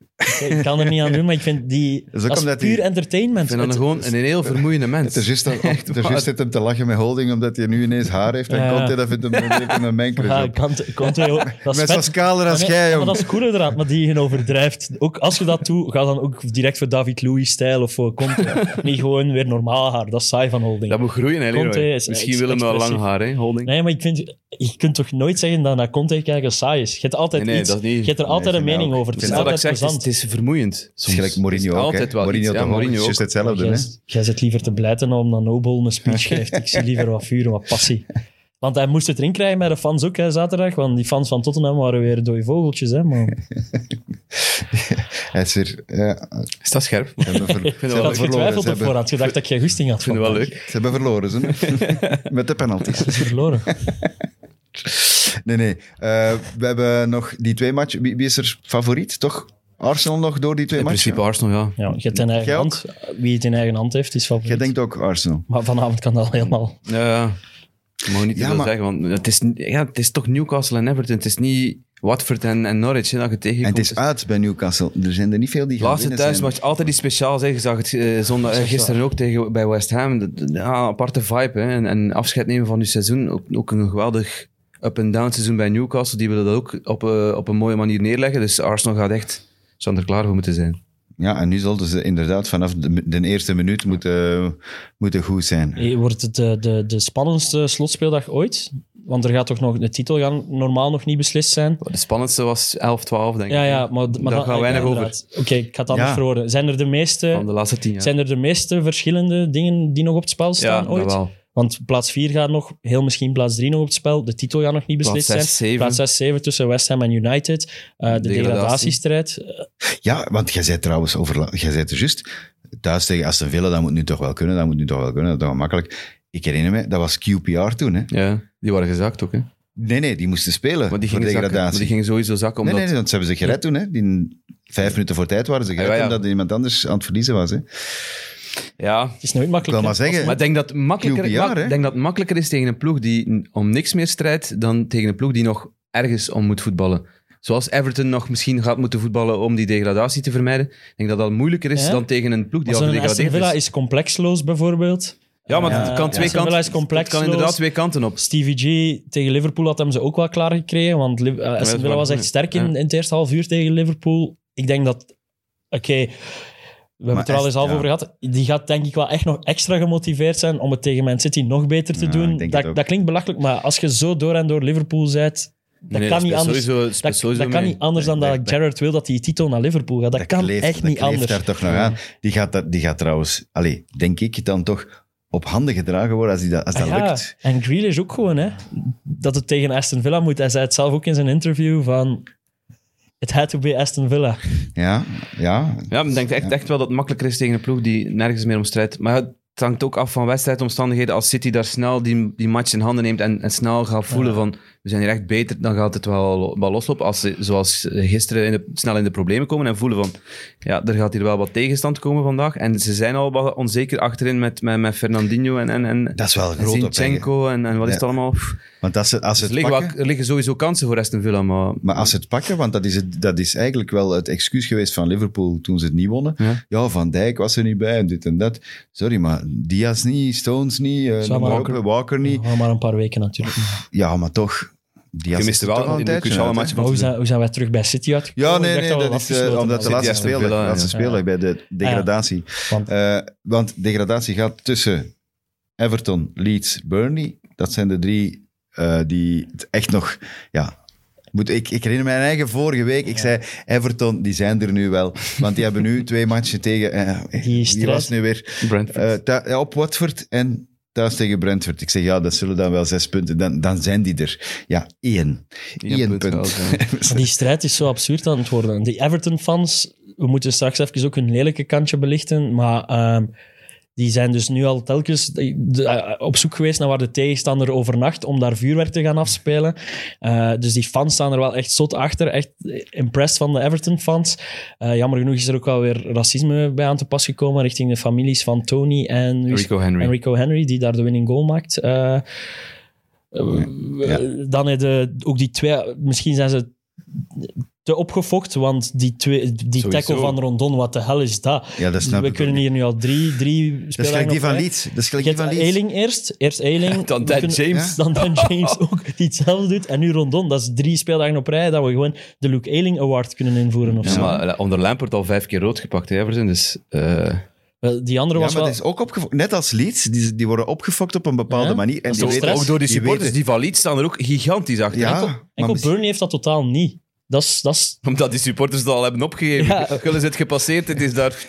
D: ik kan er niet aan doen, maar ik vind die. Dat
B: is
D: is,
B: ook omdat
D: puur
B: die-
C: Ik
D: entertainment.
C: vind dat
D: Het-
C: gewoon een heel vermoeiende mens.
B: Het is juist [laughs] dat- het is juist zit hem te lachen met Holding, omdat hij nu ineens haar heeft. En
D: Ja.
B: Conte, dat vindt hem een beetje een
D: [laughs] Ja,
B: menker.
D: Conte- Conte, joh, dat is
B: Met
D: vet.
B: zo'n skaler als
D: Maar nee,
B: jij,
D: Maar
B: joh.
D: dat is cooler eraan, maar die je overdrijft. Ook als je dat doet, ga dan ook direct voor David Louis-stijl of voor Conte.
C: [laughs]
D: Niet gewoon weer normaal haar. Dat is saai van Holding.
C: Dat moet groeien, hè, Leroy.
D: Conte is
C: Misschien
D: ex-
C: willen we wel lang
D: expressief.
C: haar, hè, Holding.
D: Nee, maar ik vind, je kunt toch nooit zeggen dat naar Conte kijken saai is. Je hebt altijd
C: Nee, nee,
D: iets.
C: dat niet.
D: Je hebt er altijd
B: Nee,
D: een
B: vind ik
D: mening
B: ook.
D: over. Het is
C: Het is wat ik
D: altijd
C: zeg, het is,
D: plezant.
C: het is vermoeiend.
B: Het is gelijk Mourinho
C: Het is
B: ook, hè.
C: altijd wel
B: Mourinho,
C: iets. Ja,
B: toch ook.
C: Mourinho
B: Het is
C: ook.
B: juist hetzelfde,
D: Jij
B: hè.
C: [laughs]
D: zit- Jij zit liever te blijten om dan Nobel een speech geeft. Ik zie liever wat vuur en wat passie. Want hij moest het erin krijgen bij de fans ook, hè, zaterdag. Want die fans van Tottenham waren weer dode vogeltjes, hè.
C: [laughs]
D: Maar
B: Hij is weer... Ja,
C: Is dat scherp?
B: ze
C: [laughs]
B: hebben, ver- ze
D: ik
B: hebben verloren.
D: had getwijfeld
B: Ze
D: op
B: hebben,
D: voorraad. Gedacht dat ik geen goesting had.
C: Ik vind het wel
D: vandaag.
C: leuk.
B: ze hebben verloren, ze.
C: [laughs]
B: Met de penalties.
D: Verloren.
B: Nee, nee. Eh, we hebben nog die twee matchen. Wie, wie is er favoriet, toch? Arsenal nog door die twee
C: In
B: matchen?
C: principe Arsenal, ja.
D: Ja, je hebt in eigen
B: Jij ook?
D: hand. Wie het in eigen hand heeft, is favoriet.
B: Jij denkt ook Arsenal.
D: Maar vanavond kan dat helemaal.
C: Ja, ja. Ik mag niet te
B: Ja,
C: veel
B: maar-
C: zeggen, want het is, ja, het is toch Newcastle en Everton. Het is niet Watford en, en Norwich hè, dat je
B: En
C: tegenkomt.
B: het is uit bij Newcastle. Er zijn er niet veel die
C: De
B: gaan
C: laatste
B: winnen zijn.
C: thuismatch, altijd die speciaal. Zeg. Je zag het eh, zondag, eh, gisteren ook tegen, bij West Ham. Dat- dat- Ja, een aparte vibe. Hè. En, en afscheid nemen van je seizoen. Ook, ook een geweldig up-and-down seizoen bij Newcastle. Die willen dat ook op, eh, op een mooie manier neerleggen. Dus Arsenal gaat echt zou er klaar voor moeten zijn.
B: Ja, en nu zullen ze inderdaad vanaf de, de eerste minuut moeten, moeten goed zijn.
D: Eh, Wordt het de, de, de spannendste slotspeeldag ooit? Want er gaat toch nog... De titel gaan normaal nog niet beslist zijn.
C: De spannendste was 11-12, denk ik.
D: Ja, ja, maar... maar
C: Daar gaan we weinig
D: ja,
C: over.
D: inderdaad. Oké, ik ga het
B: Ja.
D: anders verwoorden. Zijn er de meeste...
C: Van de laatste tien jaar.
D: Zijn er de meeste verschillende dingen die nog op het spel
C: ja,
D: staan
C: dat
D: ooit?
C: wel.
D: Want plaats 4 gaat nog, heel misschien plaats 3 nog op het spel. De titel gaat nog niet
C: Plaats
D: beslist
C: zes,
D: zijn.
C: zeven.
D: Plaats 6, 7 tussen West Ham en United. Eh, de
C: Degradatie.
D: degradatiestrijd.
B: Ja, want jij zei trouwens over... Jij zei het er juist. Thuis tegen Aston Villa, dat moet nu toch wel kunnen. Dat moet nu toch wel kunnen. Dat is toch makkelijk. Ik herinner me, dat was QPR toen, hè?
C: Ja, die waren gezakt ook, hè.
B: Nee, nee, die moesten spelen
C: Maar die
B: voor
C: gingen, zakken. Maar
B: degradatie.
C: die gingen sowieso zakken,
B: Nee,
C: omdat...
B: nee, nee, want ze hebben zich gered toen, hè? Die vijf minuten voor tijd waren ze gered,
C: Ah, ja, ja.
B: omdat iemand anders aan het verliezen was. Hè?
C: Ja,
D: Het
B: Ik
D: is nooit
B: wil
D: makkelijk.
B: maar
D: hè.
B: zeggen,
C: Maar ik denk dat, het makkelijker,
B: QPR,
C: ma-
B: hè?
C: ik denk dat het makkelijker is tegen een ploeg die n- om niks meer strijdt dan tegen een ploeg die nog ergens om moet voetballen. Zoals Everton nog misschien gaat moeten voetballen om die degradatie te vermijden. Ik denk dat dat moeilijker is
D: Ja.
C: dan tegen een ploeg die
D: Maar
C: al
D: Zo'n Aston
C: gedegradeerd
D: Villa
C: is.
D: is complexloos bijvoorbeeld.
C: Ja, maar het
D: Ja,
C: kan twee
D: Aston Villa
C: kanten.
D: is complex,
C: het kan inderdaad
D: Loos.
C: twee kanten op.
D: Stevie G tegen Liverpool had hem ze ook wel klaargekregen. Want Liv- eh,
C: dat
D: Aston
C: is
D: Villa
C: waar,
D: was echt
C: ja.
D: sterk in,
C: Ja.
D: in het eerste half uur tegen Liverpool. Ik denk dat... Oké, we hebben het er al
B: echt,
D: eens half
B: ja.
D: over gehad. Die gaat denk ik wel echt nog extra gemotiveerd zijn om het tegen Man City nog beter te
B: Ja, ik
D: doen.
B: denk het ook.
D: Dat, dat klinkt belachelijk, maar als je zo door en door Liverpool bent... Dat
C: Nee,
D: kan
C: dat
D: niet
C: speelt
D: anders.
C: sowieso- speelt
D: Dat,
C: sowieso
D: dat kan
C: mee.
D: niet anders dan
B: Nee,
D: dat
B: dat-
D: Gerrard wil dat die titel naar Liverpool gaat. Dat, kan
B: kleeft-
D: echt niet
B: dat kleeft
D: anders.
B: daar toch nog aan. Die gaat, daar- die gaat trouwens, allee, denk ik, dan toch op handen gedragen worden als, die dat, als dat
D: Ah
C: Ah,
D: Ja,
B: lukt.
D: En Grealish ook gewoon, hè. Dat het tegen Aston Villa moet. Hij zei het zelf ook in zijn interview van... It had to be Aston Villa.
B: Ja, ja.
C: Ja, ik denk echt, echt wel dat het makkelijker is tegen een ploeg die nergens meer om strijdt. Maar het hangt ook af van wedstrijdomstandigheden. Als City daar snel die, die match in handen neemt en, en snel gaat voelen van we zijn hier echt beter, dan gaat het wel, wel loslopen. Als ze, zoals gisteren, in de, snel in de problemen komen en voelen van ja, er gaat hier wel wat tegenstand komen vandaag. En ze zijn al wat onzeker achterin met, met, met Fernandinho en, en, en,
B: Dat is wel een
C: en
B: groot opleggen.
C: Zinchenko en, en wat is het
B: Ja.
C: allemaal. Pff,
B: Want als ze, als ze
C: Er
B: het
C: liggen, wel-
B: pakken,
C: er liggen sowieso kansen voor Aston Villa, maar...
B: maar als ze het pakken, want dat is, het, dat is eigenlijk wel het excuus geweest van Liverpool toen ze het niet wonnen.
C: Ja.
B: Ja, Van Dijk was er niet bij en dit en dat. Sorry, maar Diaz niet, Stones niet, eh, noem maar op, Walker.
D: Walker.
B: niet.
D: Ja, maar een paar weken natuurlijk.
B: Ja, maar toch. Diaz
C: Je
B: is
C: miste
B: er toch al
C: wel
B: een
C: in de
B: tijdje
C: cruciale
B: uit, hè?
C: match
D: Maar hoe zijn, hoe zijn wij terug bij City uitgekomen?
B: Ja,
D: Ik
B: nee,
D: dacht
B: nee,
D: we
B: dat
D: al
B: is eh,
D: afgesloten
B: omdat de
D: hadden.
B: laatste
C: City Aston
B: speeldag,
C: Villa,
B: laatste
C: ja.
B: speeldag bij de degradatie.
D: Want-
B: Eh, want degradatie gaat tussen Everton, Leeds, Burnley. Dat zijn de drie eh, die het echt nog... Ja, moet, ik, ik herinner mijn eigen vorige week. Ik zei, Everton, die zijn er nu wel. Want die hebben [laughs] nu twee matchen tegen... eh,
D: strijd.
B: was nu weer?
C: Brentford.
B: Eh, thu- ja, op Watford en thuis tegen Brentford. Ik zeg, ja, dat zullen dan wel zes punten. Dan, dan zijn die er. Ja, één.
C: Eén
B: Eén
C: punt
B: punt.
C: wel,
D: Maar Die strijd is zo absurd aan het worden. Die Everton-fans, we moeten straks even ook hun lelijke kantje belichten, maar ehm, die zijn dus nu al telkens de- de- eh, op zoek geweest naar waar de tegenstander overnacht om daar vuurwerk te gaan afspelen. Eh, dus die fans staan er wel echt zot achter. Echt impressed van de Everton-fans. Eh, jammer genoeg is er ook wel weer racisme bij aan te pas gekomen richting de families van Tony en... wie is-
C: Rico Henry.
D: en Rico Henry, die daar de winning goal maakt. Eh, eh,
B: Oh,
D: Dan heb je ook die twee... Misschien zijn ze te opgefokt, want die, twee, die
C: Sowieso.
D: tackle van Rondon, wat de hel is dat?
B: Ja, dat snap
D: We
B: ik
D: kunnen
B: ook
D: hier nu al drie, drie spelers
B: Dat is gelijk die van Leeds. Dat is gelijk
D: Je
B: die
D: hebt
B: van Leeds.
D: Eiling eerst. Eerst
B: [laughs]
D: Eiling.
C: Dan
D: We
C: Dan
D: kunnen-
C: James.
D: Dan Dan James ook, die hetzelfde doet. En nu Rondon. Dat is drie speeldagen op rij dat we gewoon de Luke Eiling Award kunnen invoeren of
C: Ja,
D: zo.
C: maar eh, onder Lampert al vijf keer rood gepakt, hè, Everton. Dus eh,
D: Wel, Die andere
B: Ja,
D: was
B: maar
D: wel...
B: dat is ook opgefokt. Net als Leeds, die, die worden opgefokt op een bepaalde
D: Ja,
B: manier. En die
D: toch
B: weten,
D: stress?
C: ook door die supporters,
B: weten-
C: die van Leeds staan er ook gigantisch achter.
B: ja,
C: hè.
B: maar
D: Enkel
B: misschien-
D: Burnley heeft dat totaal niet. Dat is, dat is
C: Omdat die supporters dat al hebben opgegeven.
D: Ja.
C: Gullen is het gepasseerd, het is daar...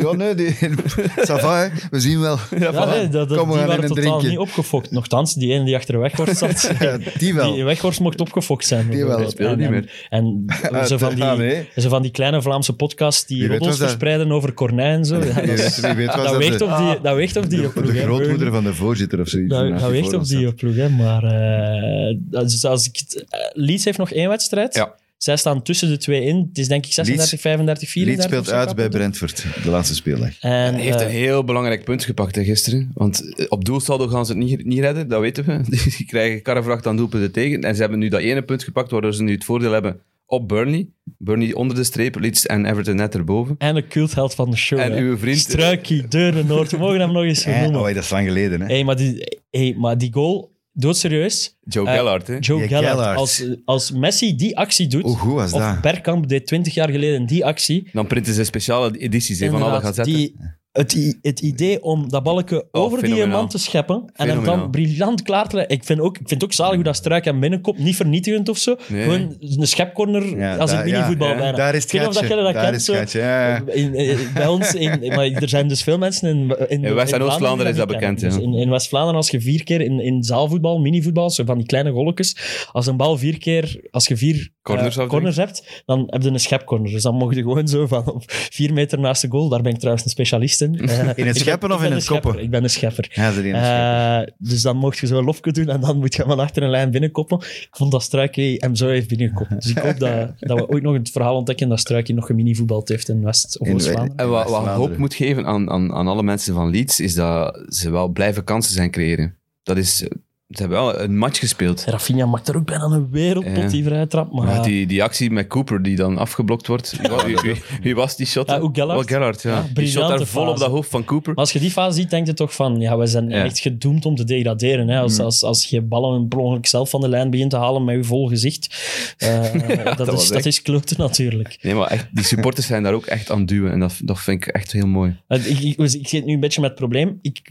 B: Ja, nee, die, [laughs] ça va, hè. we zien wel.
C: Ja,
D: Ja,
C: voilà.
D: nee, dat, dat-
B: Kom, we
D: die
B: gaan in
D: waren
B: een
D: totaal
B: drinkje.
D: niet opgefokt. Nochtans, die ene die achter de weghorst
B: [laughs]
D: zat,
B: Ja, die wel.
D: die weghorst mocht opgefokt zijn. Ah,
B: Die wel.
C: Hij speelde niet meer.
D: En
B: [laughs]
D: zo van, die,
B: Ah, nee.
D: zo van die kleine Vlaamse podcasts
B: Je
D: die
B: weet
D: roddels
B: wat dat-
D: verspreiden over Cornijn en zo. [laughs] Ja,
B: Je
D: dat,
B: weet, [laughs] wie weet was
D: dat
B: dat
D: weegt
B: de,
D: op die, dat weegt op die
B: de,
D: ploeg, hè,
B: grootmoeder
D: Beugen.
B: van de voorzitter of zoiets.
D: Dat,
B: naast
D: dat
B: die
D: weegt
B: voor
D: op
B: ons
D: die
B: zat.
D: ploeg, hè. Maar eh, dat is- als ik het- eh, Leeds heeft nog één wedstrijd.
C: Ja.
D: Zij staan tussen de twee in. Het is denk ik 36, 35, 34.
B: Leeds speelt
D: of zo,
B: uit bij
D: kappen.
B: Brentford, de laatste speeldag.
D: En,
C: Hij heeft
D: eh,
C: een heel belangrijk punt gepakt hè, gisteren. Want eh, op doelsaldo gaan ze het niet, niet redden, dat weten we. [laughs] Die krijgen karrevracht aan doelpunten tegen. En ze hebben nu dat ene punt gepakt, waardoor ze nu het voordeel hebben op Burnley. Burnley onder de streep, Leeds en Everton net erboven.
D: en de cultheld van de show.
C: En
D: hè.
C: uw vriend...
D: Struikie, Deuren, Noord. We mogen hem nog
B: [laughs]
D: eens
B: Eh,
D: genoemen.
B: oh, dat is lang geleden, hè?
D: Hé, maar, die- hey, maar die goal, doodserieus.
C: Joe
D: Eh,
C: Gellard, hè.
D: Joe
B: Ja,
D: Gallagher,
B: Gallagher.
D: Als, als Messi die actie doet,
B: Hoe goed was
D: of
B: dat?
D: Bergkamp deed 20 jaar geleden die actie.
C: Dan printen ze speciale edities hè, van alle
D: inderdaad,
C: gazetten.
D: die- het, i- het idee om dat balken
C: Oh,
D: over die
C: fenomenaal.
D: man te scheppen en hem
C: Fenomenaal.
D: dan briljant klaar te leggen. Ik vind, ook, ik vind het ook zalig hoe dat Struik hem binnenkomt. Niet vernietigend of zo.
C: Nee.
D: Gewoon een schepcorner
B: Ja,
D: als in
B: daar-
D: minivoetbal
C: ja, ja.
D: bijna.
B: Daar is het
D: Ik weet niet of dat
B: gaatje.
D: jij dat
B: Daar
D: kent, eh,
B: is
D: zo.
B: het gaatje, ja, ja.
D: In, in- bij ons, in, maar er zijn dus veel mensen in. In, in
C: West- en
D: Vlaanderen
C: Oost-Vlaanderen is dat
D: die kennen.
C: bekend, ja.
D: Dus in, in West-Vlaanderen, als je vier keer in, in zaalvoetbal, minivoetbal, zo van die kleine golletjes, als een bal vier keer, als je vier
C: Corners
D: eh,
C: afdringt.
D: corners hebt, dan heb je een schepcorner. Dus dan mocht je gewoon zo van op vier meter naast de goal. Daar ben ik trouwens een specialist in. Eh, ik ben-
B: scheppen
D: ik
B: of
D: ben
B: in
D: een
B: het
D: schepper.
B: koppen?
D: Ik ben een schepper.
B: Ja, ze deden het scherp.
D: Eh, dus dan mocht je zo een lofke doen en dan moet je hem van achter een lijn binnenkoppen. Ik vond dat Struikie hem zo heeft binnengekopt. Dus ik hoop
C: [laughs]
D: dat, dat we ooit nog het verhaal ontdekken dat Struikie nog geminivoetbald heeft in West- of
B: In-
D: Oost-Vlaanderen.
C: En wat, wat ik
B: West-Vlaanderen.
C: hoop moet geven aan, aan, aan alle mensen van Leeds, is dat ze wel blijven kansen zijn creëren. Dat is... Ze hebben wel een match gespeeld.
D: Rafinha maakt er ook bijna een wereldpot
C: Ja.
D: die vrije trap. Maar,
C: Ja, die, die actie met Cooper die dan afgeblokt wordt. Wie, wa- wie- wie- wie was die shot?
D: Ja, ook Gellert.
C: Oh, Gellert, ja.
D: Ja,
C: die shot daar
D: briljante
C: vol
D: fase.
C: op dat hoofd van Cooper.
D: maar als je die fase ziet, denk je toch van, ja, we zijn
C: Ja. Mm.
D: echt gedoemd om te degraderen. Hè? Als, als, als je ballen per ongeluk zelf van de lijn begint te halen met je vol gezicht.
C: [laughs]
D: eh, dat,
C: dat was
D: is,
C: echt-
D: dat is kloten natuurlijk.
C: Nee, maar echt, die supporters zijn daar ook echt aan het duwen. En dat, dat vind ik echt heel mooi.
D: Eh, Ik, ik, ik zit nu een beetje met het probleem. Ik,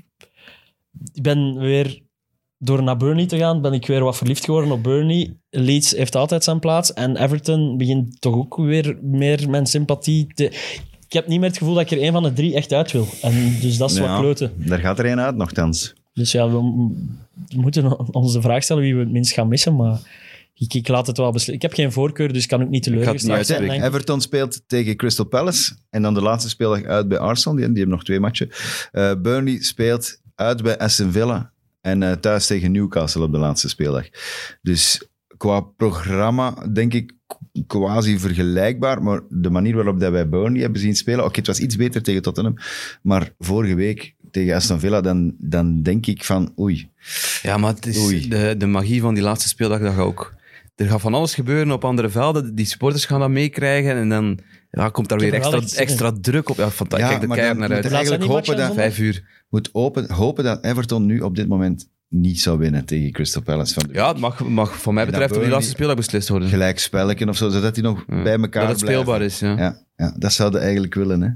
D: ik ben weer door naar Burnley te gaan, ben ik weer wat verliefd geworden op Burnley. Leeds heeft altijd zijn plaats. En Everton begint toch ook weer meer mijn sympathie te... Ik heb niet meer het gevoel dat ik er een van de drie echt uit wil. En dus dat is
B: Ja.
D: wat kloten.
B: Daar gaat er een uit, nogthans.
D: Dus ja, we m- moeten ons de vraag stellen wie we het minst gaan missen. Maar ik, ik laat het wel beslissen. Ik heb geen voorkeur, dus ik kan ook niet
C: ga het niet
D: teleurgesteld zijn.
C: uitspreken.
D: denk ik.
B: Everton speelt tegen Crystal Palace. En dan de laatste speeldag uit bij Arsenal. Die, die hebben nog twee matchen. Eh, Burnley speelt uit bij Aston Villa. En eh, thuis tegen Newcastle op de laatste speeldag. Dus qua programma denk ik quasi vergelijkbaar. Maar de manier waarop dat wij Burnley hebben zien spelen... Oké, het was iets beter tegen Tottenham. Maar vorige week tegen Aston Villa, dan, dan denk ik van... Oei,
C: Ja, maar het is
B: Oei.
C: de, de magie van die laatste speeldag, dat gaat ook... Er gaat van alles gebeuren op andere velden. Die supporters gaan dat meekrijgen. En dan ja, komt daar
D: Ik
C: weer
D: heb er wel
C: extra,
D: echt zin
C: extra druk op. Ja, fantastisch.
B: Ja,
C: Kijk er
B: maar
C: keihard
B: dan
C: naar uit.
B: moet
D: Laat zijn
B: eigenlijk
D: die
B: hopen
D: matchen
B: dat,
C: Vijf uur.
B: moet open, hopen dat Everton nu op dit moment niet zou winnen tegen Crystal Palace. Van de
C: Ja, het mag, mag van mij
B: En dat
C: betreft op die
B: Burnley-
C: laatste speeldag beslist worden.
B: gelijk spelletje of zo, zodat die nog bij elkaar
C: Mm. dat het speelbaar
B: blijven.
C: is, ja.
B: Ja, ja, dat zouden eigenlijk willen. Hè?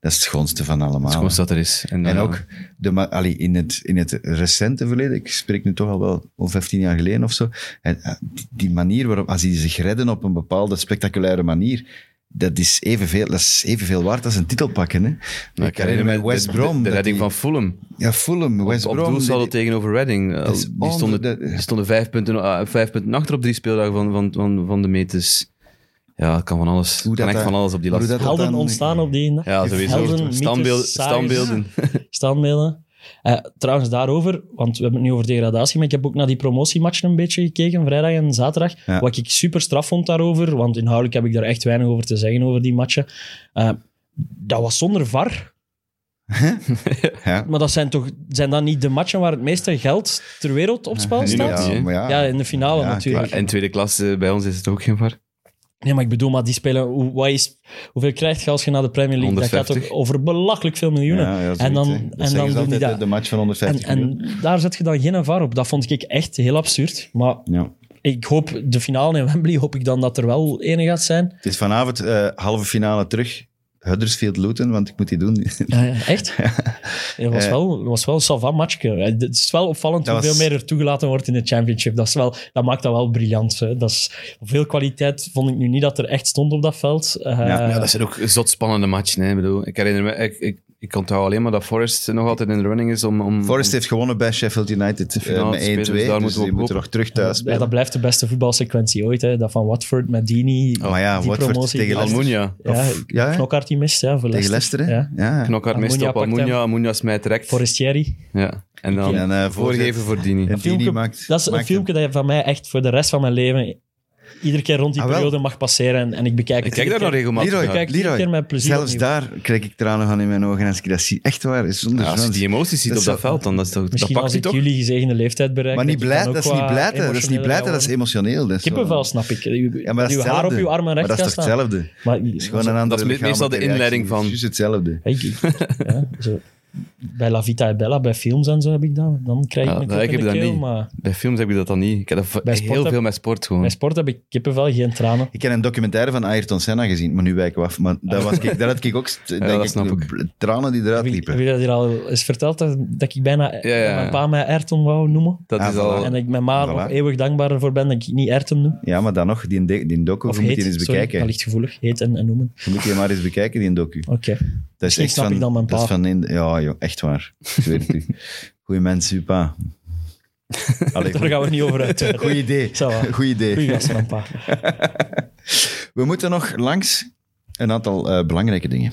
B: Dat is het schoonste van allemaal.
C: Het is gewoon dat er is. En, eh,
B: En
C: ja.
B: ook de, ma- allee, in, het, in het recente verleden, ik spreek nu toch al wel om 15 jaar geleden of zo, en, eh, die- die manier waarop, als die zich redden op een bepaalde spectaculaire manier, dat is evenveel, dat is evenveel waard als een titel pakken.
C: Nou,
B: Hè? ik herinner me
C: de-
B: West
C: de-
B: Brom.
C: De,
B: dat
C: redding
B: die-
C: van Fulham.
B: Ja, Fulham, West
C: op
B: Brom.
C: doelsaldo
B: die-
C: tegenover Reading. Eh,
B: Dat is
C: Die stonden,
B: onder- dat-
C: die stonden vijf, punten, ah, vijf punten achter op drie speeldagen van, van, van, van de meters. Ja, het kan van alles.
B: Hoe
C: Het kan
B: dat
C: echt
B: daar-
C: van alles op die
B: hoe
C: laatste.
B: dat-
C: speeldag.
D: Helden
B: dan-
D: ontstaan op die dag.
C: Ja,
D: Helden,
C: sowieso.
D: mythes,
C: Standbeeld,
D: saaiers.
C: standbeelden.
D: standbeelden. Eh, trouwens, daarover, want we hebben het nu over degradatie, maar ik heb ook naar die promotiematchen een beetje gekeken, vrijdag en zaterdag.
B: Ja.
D: Wat ik super straf vond daarover, want inhoudelijk heb ik daar echt weinig over te zeggen over die matchen. Eh, dat was zonder VAR,
B: [laughs] Ja,
D: maar dat zijn toch zijn dat niet de matchen waar het meeste geld ter wereld op spel
C: nu nog
D: staat?
C: niet.
B: ja, maar
D: Ja,
B: ja.
D: in de finale
B: Ja,
D: natuurlijk.
C: En tweede klasse, bij ons is het ook geen var.
D: Nee, maar ik bedoel, maar die spelen, hoe, wat is, hoeveel krijg je als je naar de Premier League? Dat gaat
C: 150.
D: toch over belachelijk veel miljoenen.
B: Ja, ja,
D: en
B: zoiets, hè.
D: dan,
B: Dat
D: en
B: zeggen
D: dan
B: ze
D: doen die
B: altijd, hè,
D: dat.
B: De match van 150
D: En,
B: miljoen.
D: en daar zet je dan geen var op. Dat vond ik echt heel absurd. Maar
B: Ja.
D: ik hoop,
B: [laughs]
D: de finale in Wembley, hoop ik dan dat er wel ene gaat zijn.
B: Het is vanavond eh halve finale terug. Huddersfield Luton, want ik moet die [laughs] doen.
D: Ja, ja, echt? Het was, wel, het was wel een savant matchje. Het is wel opvallend
B: Dat
D: hoeveel
B: was-
D: meer er toegelaten wordt in de championship. Dat, is wel, dat maakt dat wel briljant. Hè. Dat is, veel kwaliteit vond ik nu niet dat er echt stond op dat veld. Eh,
B: Ja,
C: Ja, dat zijn ook zot spannende matchen. Hè. Ik, bedoel, ik herinner me, ik, ik, ik onthoud alleen maar dat Forrest nog altijd in de running is om... om
B: Forest
C: om-
B: heeft gewonnen bij Sheffield United eh,
C: finale
B: met 1-2.
C: spelen,
B: Dus,
C: dus daar moeten we
B: die
C: op
B: moeten nog terug thuis
D: ja,
B: spelen.
D: dat blijft de beste voetbalsequentie ooit. Hè. Dat van Watford met Dini.
B: Oh, maar ja,
D: die
B: Watford
D: promotie.
B: tegen Leicester.
C: Almunia.
D: Ja,
B: Of- ja, hè?
D: Knokkaard die mist. Ja, voor
B: Tegen Leicester, hè?
D: Ja.
B: Ja.
C: Knokkard mist
D: Almunia
C: op
D: pakt
C: Almunia. Almunia smijt direct.
D: Forestieri.
C: Ja. En dan
B: En, eh,
C: voorgeven voor Dini.
B: En
D: Een filmpje-
B: Dini maakt...
D: Dat is een
B: maakt
D: filmpje dat je van mij echt voor de rest van mijn leven iedere keer rond die
B: Ah, wel.
D: periode mag passeren. En, en ik bekijk
C: Ik
D: het.
C: kijk daar
D: iedere
C: nog
D: keer.
C: regelmatig
B: Leroy,
C: naar.
D: Ik kijk het iedere
B: Leroy,
D: keer met plezier.
B: Zelfs
D: opnieuw.
B: daar krijg ik tranen van in mijn ogen als ik dat zie. Echt waar, zonder
C: Ja, als je
B: zwans.
C: die emoties ziet
B: dus Dat
C: op
B: is
C: dat veld, dan dat is toch, dat
D: Misschien
C: pakt
D: als
C: hij
D: ik
C: toch?
D: jullie gezegende leeftijd bereik.
B: Maar niet
D: dat ik
B: blij,
D: dan
B: dat
D: ook
B: is niet
D: wat
B: blijten, dat is niet
D: emotioneler
B: blijten,
D: ga
B: dat is
D: worden.
B: emotioneel. Dat is wel-
D: Kippenvel, snap ik. Je,
B: Ja, maar dat is
D: je haar op
B: hetzelfde.
D: je arm en
B: Maar
D: recht
B: dat is toch
D: gaat staan.
B: hetzelfde? Het
D: Maar,
B: is gewoon een andere
C: is meestal
B: lichamelijke
C: de inleiding
B: reactie. Het is juist hetzelfde.
D: ik- ik- ja, zo. Bij La Vita e Bella, bij films en zo heb ik dat. Dan krijg ik
C: Ja,
D: een
C: dat-
D: kop
C: ik
D: in
C: heb
D: de
C: dat
D: keel,
C: niet.
D: maar
C: Bij films heb ik dat dan niet. Ik heb dat v-
D: Bij sport
C: heel
D: heb-
C: veel met sport
D: bij
C: gewoon.
D: sport heb ik kippenvel, geen tranen.
B: Ik heb een documentaire van Ayrton Senna gezien, maar nu wijk ik af. Maar dat, was ik, dat had ik
C: [laughs]
B: ook, st- denk
C: dat
B: ik,
C: snap
B: de
C: ik.
B: bl- tranen die eruit
D: Heb ik, heb
B: liepen.
D: je dat hier al eens verteld, dat, dat ik bijna dat
C: ja.
D: mijn pa mij Ayrton wou noemen?
C: Dat
B: Ah,
C: is
B: voilà.
C: al...
D: En ik mijn ma
B: Voilà.
D: nog eeuwig dankbaar voor ben dat ik niet Ayrton noem.
B: Ja, maar dan nog, die, de- die docu,
D: Of
B: je moet
D: heet,
B: je eens
D: sorry,
B: bekijken.
D: dat ligt gevoelig. Heet en, en noemen.
B: Je moet je maar eens bekijken, die docu.
D: Oké.
B: Dat is
D: Misschien
B: echt
D: snap
B: van,
D: ik dan mijn
B: dat is
D: pa.
B: van in, ja, joh, echt waar. Ik weet
D: [laughs]
B: het u. Goeie mens, uw pa. Allee,
D: Daar gaan we niet over uit.
B: goed idee.
D: Ça va.
B: Goed idee.
D: Goeie gast, mijn pa.
B: We moeten nog langs een aantal eh, belangrijke dingen.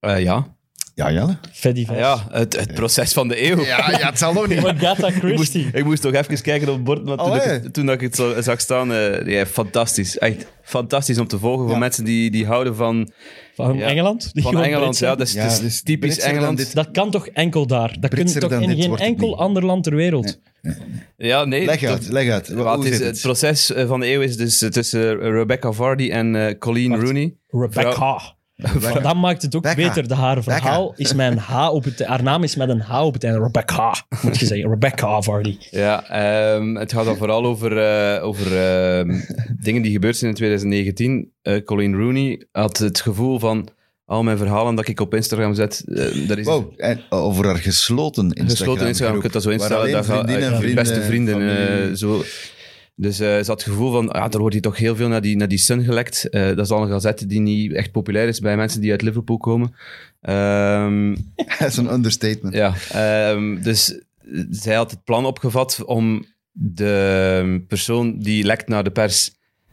C: Eh, ja.
B: Ja, Jelle?
D: Freddy
C: Ah,
D: Vels.
C: ja, het, het proces van de eeuw.
B: ja, het zal nog niet.
D: Agatha Christie.
C: [laughs] Ik moest toch even kijken op het bord, want toen,
B: Allee.
C: ik, het- toen dat ik het zo zag staan, eh, ja, fantastisch. Echt fantastisch om te volgen voor
B: Ja.
C: mensen die, die houden van,
D: Van
C: Ja.
D: Engeland? Die
C: van
D: gewoon
C: Engeland.
D: Britse.
C: Ja, dat is,
B: Ja, dus
C: het is
B: het is
C: typisch
B: Britser dan
C: Engeland.
B: dit.
D: Dat kan toch enkel daar? Dat kun je
B: Britser
D: toch
B: dan
D: in
B: dit
D: geen
B: wordt het
D: enkel
B: niet.
D: ander land ter wereld?
C: Ja, nee.
B: Leg
C: dat-
B: uit, leg uit.
C: Ja, het,
B: Hoe
C: is,
B: zit
C: het proces eh, van de eeuw is dus eh, tussen Rebecca Vardy en eh, Colleen
D: Wacht.
C: Rooney.
D: Rebecca. Van, dat maakt het ook
B: Becca.
D: beter. De haar verhaal is mijn H op het... Haar naam is met een H op het einde. Rebecca, moet je zeggen. Rebecca Vardy.
C: Ja, ehm, het gaat dan vooral over, eh, over ehm, dingen die gebeurd zijn in 2019. Eh, Colleen Rooney had het gevoel van al mijn verhalen dat ik op Instagram zet, eh, daar is
B: Wow, en over haar gesloten Instagram.
C: gesloten Instagram. Je kunt dat zo instellen. Dat
B: Dat
C: gaat eh,
B: vriendinnen,
C: je
B: vrienden,
C: beste vrienden.
B: familie. [laughs]
C: eh, zo. Dus eh, ze had het gevoel van, ja, er wordt hier toch heel veel naar die, naar die Sun gelekt. Eh, dat is al een gazette die niet echt populair is bij mensen die uit Liverpool komen. Ehm,
B: dat is een understatement.
C: ja, ehm, dus zij had het plan opgevat om de persoon die lekt naar de pers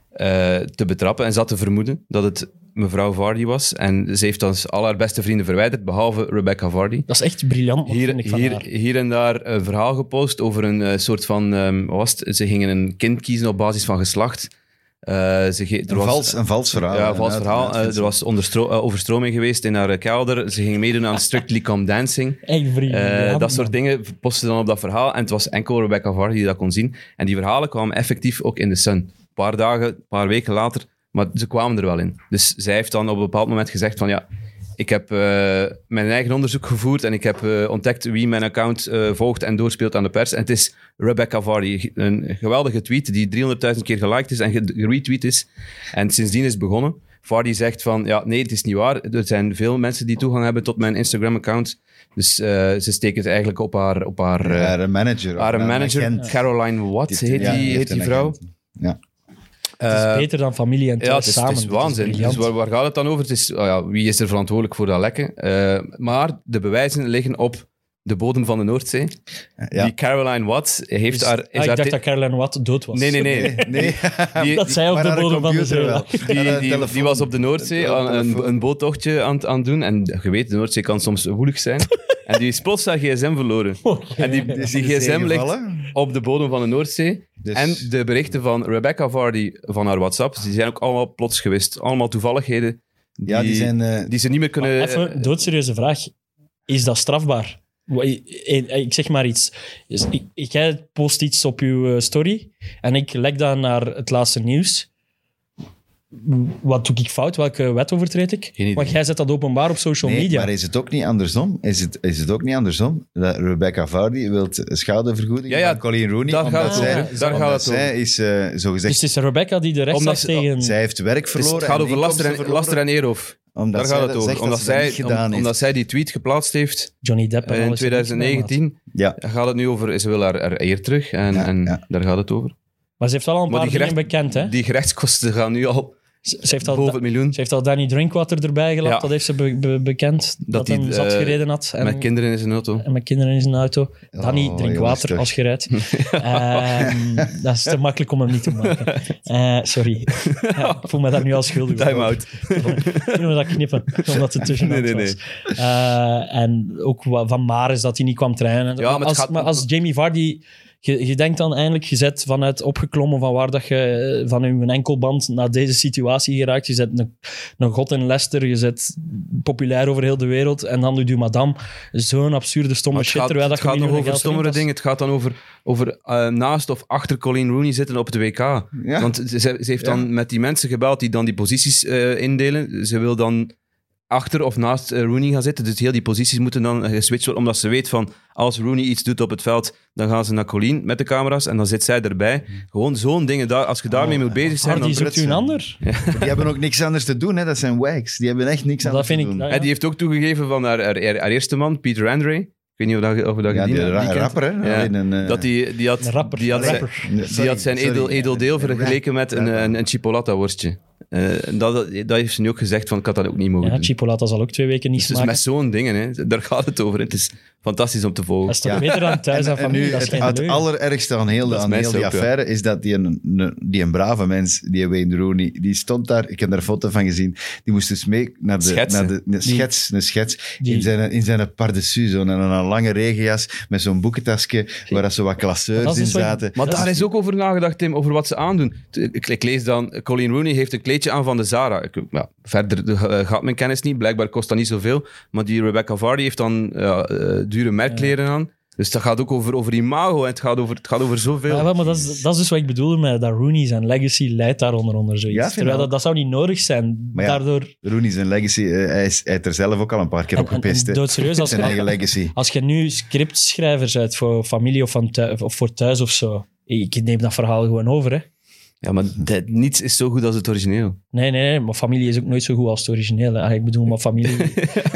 C: eh, te betrappen. En ze had te vermoeden dat het mevrouw Vardy was. En ze heeft dan al haar beste vrienden verwijderd, behalve Rebecca Vardy
D: Dat is echt briljant, hier, vind ik
C: hier,
D: van
C: hier,
D: haar.
C: hier en daar een verhaal gepost over een eh, soort van. ehm, wat was het? Ze gingen een kind kiezen op basis van geslacht. Eh, ze ge- er
B: Een,
C: was,
B: vals, een vals verhaal.
C: ja, vals
B: Een
C: verhaal.
B: uiteraard.
C: Eh, er was onderstro- eh, overstroming geweest in haar eh, kelder. Ze gingen meedoen
B: [laughs]
C: aan Strictly Come Dancing.
D: Echt
C: Eh,
D: briljant.
C: dat soort dingen posten dan op dat verhaal. En het was enkel Rebecca Vardy die dat kon zien. En die verhalen kwamen effectief ook in de Sun. Een paar dagen, een paar weken later. Maar ze kwamen er wel in. Dus zij heeft dan op een bepaald moment gezegd van ja, ik heb eh, mijn eigen onderzoek gevoerd en ik heb eh, ontdekt wie mijn account eh, volgt en doorspeelt aan de pers. En het is Rebecca Vardy. Een geweldige tweet die 300.000 keer geliked is en ge- geretweet is. En sindsdien is het begonnen. Vardy zegt van, ja, nee, het is niet waar. Er zijn veel mensen die toegang hebben tot mijn Instagram-account. Dus eh, ze steken het eigenlijk op haar, op haar, eh,
B: Haar manager.
C: haar manager,
B: agent.
C: Caroline Watt, heet
B: Ja,
C: die,
B: heeft
C: heet die
B: een
C: vrouw.
B: agent. Ja.
D: Het is
C: Eh,
D: beter dan familie en
C: ja, het
D: thuis
C: is,
D: samen.
C: het is
D: Dat
C: waanzin.
D: briljant.
C: dus waar, waar gaat het dan over? Het is, ah ja, wie is er verantwoordelijk voor dat lekken? Eh, maar de bewijzen liggen op de bodem van de Noordzee.
B: Ja. [laughs]
C: Die Caroline Watt heeft
D: Dus-
C: haar...
D: ah, ik
C: haar
D: dacht
C: te-
D: dat Caroline Watt dood was.
C: Nee,
D: [laughs]
C: nee, nee.
B: Nee,
C: Die,
D: Dat zij op
B: maar
D: de
B: haar
D: bodem van de
B: computer
D: zee
B: wel.
D: lag.
C: [laughs] die,
B: Aan haar
C: die, die
B: telefoon.
C: was op de Noordzee
B: Aan
C: aan,
B: haar
C: een,
B: telefoon.
C: een boottochtje aan, het- aan het doen. En je weet, de Noordzee kan soms woelig
B: [laughs]
C: zijn. en die is plots haar gsm verloren. En die, die,
B: in de zee
C: gsm ligt
B: gevallen.
C: op de bodem van de Noordzee.
B: Dus-
C: En de berichten van Rebecca Vardy van haar WhatsApp, die zijn ook allemaal plots gewist. Allemaal toevalligheden die,
B: Ja, die zijn... eh,
C: die ze niet meer
D: Maar
C: kunnen...
D: even, een doodserieuze vraag. Is dat strafbaar? Wa- ik- Ik zeg maar iets. Dus ik- ik- Jij post iets op uw eh, story en ik lek dat naar het laatste nieuws. M- Wat doe ik fout? Welke wet overtreed ik?
C: idee.
D: Want jij zet dat openbaar op social
B: Nee,
D: media.
B: maar is het ook niet andersom? Is het, is het ook niet andersom dat Rebecca Vardy wilt schadevergoeding
C: Ja, ja,
B: van Colleen Rooney?
C: daar gaat
B: omdat
D: het
B: zij,
D: over.
C: Daar
B: omdat
C: gaat het
B: zij is, eh, zo
D: dus
B: gezegd,
D: het is Rebecca die de rechtszaak
C: Omdat ze-
D: tegen...
B: zij heeft werk
C: Het, is-
B: verloren.
C: het gaat
B: en
C: over laster en,
B: inkomsten
C: laster en eeroof.
B: Omdat
C: Daar gaat
B: dat
C: het over.
B: zegt
C: Omdat
B: dat ze dat
C: zij,
B: niet gedaan
C: om-
B: heeft.
C: omdat zij die tweet geplaatst heeft
D: Johnny Depp en
C: eh, in
D: alles.
C: 2019,
B: Ja.
C: gaat het nu over, ze wil haar, haar eer terug en,
B: Ja,
C: en
B: ja.
C: daar gaat het over.
D: Maar ze heeft wel al een
C: Maar
D: paar
C: die
D: dingen bekend, hè?
C: Die gerechtskosten gaan nu al
D: Ze ze heeft al,
C: boven het miljoen.
D: ze heeft al Danny Drinkwater erbij gelapt.
C: Ja.
D: Dat heeft ze be- be- bekend. Dat,
C: die,
D: hem zat
C: eh,
D: gereden had. En,
C: Met kinderen in zijn auto.
D: en met kinderen in zijn auto. Danny,
B: Oh,
D: drink
B: jongens,
D: water
B: toch.
D: als je
C: [laughs]
D: rijdt. Ehm, dat is te makkelijk om hem niet te maken.
C: [laughs]
D: Eh, sorry. Ja, ik voel me daar nu al schuldig over.
C: Time out.
D: [laughs] Kunnen we dat knippen? Omdat het tussen
C: Nee, nee,
D: was. Eh, en ook wa- van Maris dat hij niet kwam trainen.
C: Ja, maar het
D: als,
C: gaat-
D: maar als Jamie Vardy... Je, je denkt dan eindelijk, je zet vanuit opgeklommen van waar dat je eh, van een enkelband naar deze situatie geraakt. Je zet een, een god in Leicester, je zet populair over heel de wereld. En dan doet je madame zo'n absurde, stomme
C: Maar het
D: shit.
C: gaat,
D: terwijl dat
C: het
D: je
C: gaat nog
D: miljoenen geld
C: over stommere
D: verdient
C: dingen. Het gaat dan over, over eh, naast of achter Colleen Rooney zitten op het WK.
B: Ja.
C: Want ze, ze heeft dan
B: Ja.
C: met die mensen gebeld die dan die posities eh, indelen. Ze wil dan achter of naast eh, Rooney gaan zitten. Dus heel die posities moeten dan geswitcht worden. Omdat ze weet van, als Rooney iets doet op het veld, dan gaan ze naar Colleen met de camera's en dan zit zij erbij. Gewoon zo'n dingen. daar- Als je daarmee moet bezig
D: als-
C: zijn,
D: Hardy
C: dan...
D: zoekt u een ander.
C: [laughs]
B: Die hebben ook niks anders te doen, hè. dat zijn wags. Die hebben echt niks
D: Maar dat
B: anders
D: vind ik...
B: te doen.
D: nou ja.
C: En die heeft ook toegegeven van haar, haar, haar- haar eerste man, Peter Andre. Ik weet niet of dat, of dat
B: ja,
C: je die,
B: die ra-
C: die kent.
B: rapper, hè?
C: Ja.
B: Alleen een, eh,
C: Dat die, die had...
D: Een rapper.
C: Die had,
D: een
C: zijn-
D: rapper.
B: nee,
C: die
B: sorry,
C: had zijn
B: sorry.
C: edel, edel deel vergeleken met een, eh,
B: Ja.
C: een, een chipolata-worstje. Eh, en dat, dat heeft ze nu ook gezegd, van ik had dat ook niet mogen
D: Ja,
C: doen.
D: Chipolata zal ook twee weken niet
C: Dus
D: smaken.
C: met zo'n dingen, hè, daar gaat het over. Het is fantastisch om te volgen.
D: Dat is toch
B: Ja.
D: beter dan thuis aan
B: En nu,
D: familie? Dat is
B: het,
D: geen
B: het
D: leugen.
B: allerergste aan heel, de-
C: Dat is
B: aan
C: mijn
B: heel die
C: stuk, ja.
B: affaire is dat die een, een- die een brave mens, die Wayne Rooney, die stond daar, ik heb daar een foto van gezien, die moest dus mee naar de,
C: Schetsen.
B: naar de een schets, een schets
D: die-
B: in zijn, in zijn pardessus, zo'n en een lange regenjas met zo'n boekentasje waar dat zo wat
D: Maar
B: klasseurs
D: dat is
B: in
D: dus wat-
B: zaten.
C: Maar
D: Dat
C: daar is ook over nagedacht, Tim, over wat ze aandoen. T- Ik, ik lees dan, eh, Colleen Rooney heeft een kleedje aan van de Zara. Ik, ja, verder eh, gaat mijn kennis niet, blijkbaar kost dat niet zoveel. Maar die Rebecca Vardy heeft dan ja, eh, dure merkkleren aan. Dus dat gaat ook over, over imago en het gaat over, het gaat over zoveel.
D: Ja, wel, maar dat is, dat is dus wat ik bedoelde met dat Rooney zijn legacy leidt daaronder onder
B: Ja,
D: zoiets.
B: vind ik
D: Terwijl
B: wel.
D: dat, dat zou niet nodig zijn.
B: Maar ja,
D: Daardoor...
B: Dus Rooney zijn legacy, eh, hij, is, hij heeft er zelf ook al een paar keer
D: En,
B: op
D: en, en
B: gepist. hè.
D: doodserieus, als,
B: zijn eigen
D: je- [laughs]
B: legacy.
D: als je nu scriptschrijver bent voor familie of, van thuis, of voor thuis of zo, ik neem dat verhaal gewoon over, hè.
C: Ja, maar dat- niets is zo goed als het origineel.
D: Nee, nee, nee, maar familie is ook nooit zo goed als het originele. Ah, Ik
B: [laughs]
D: bedoel, maar familie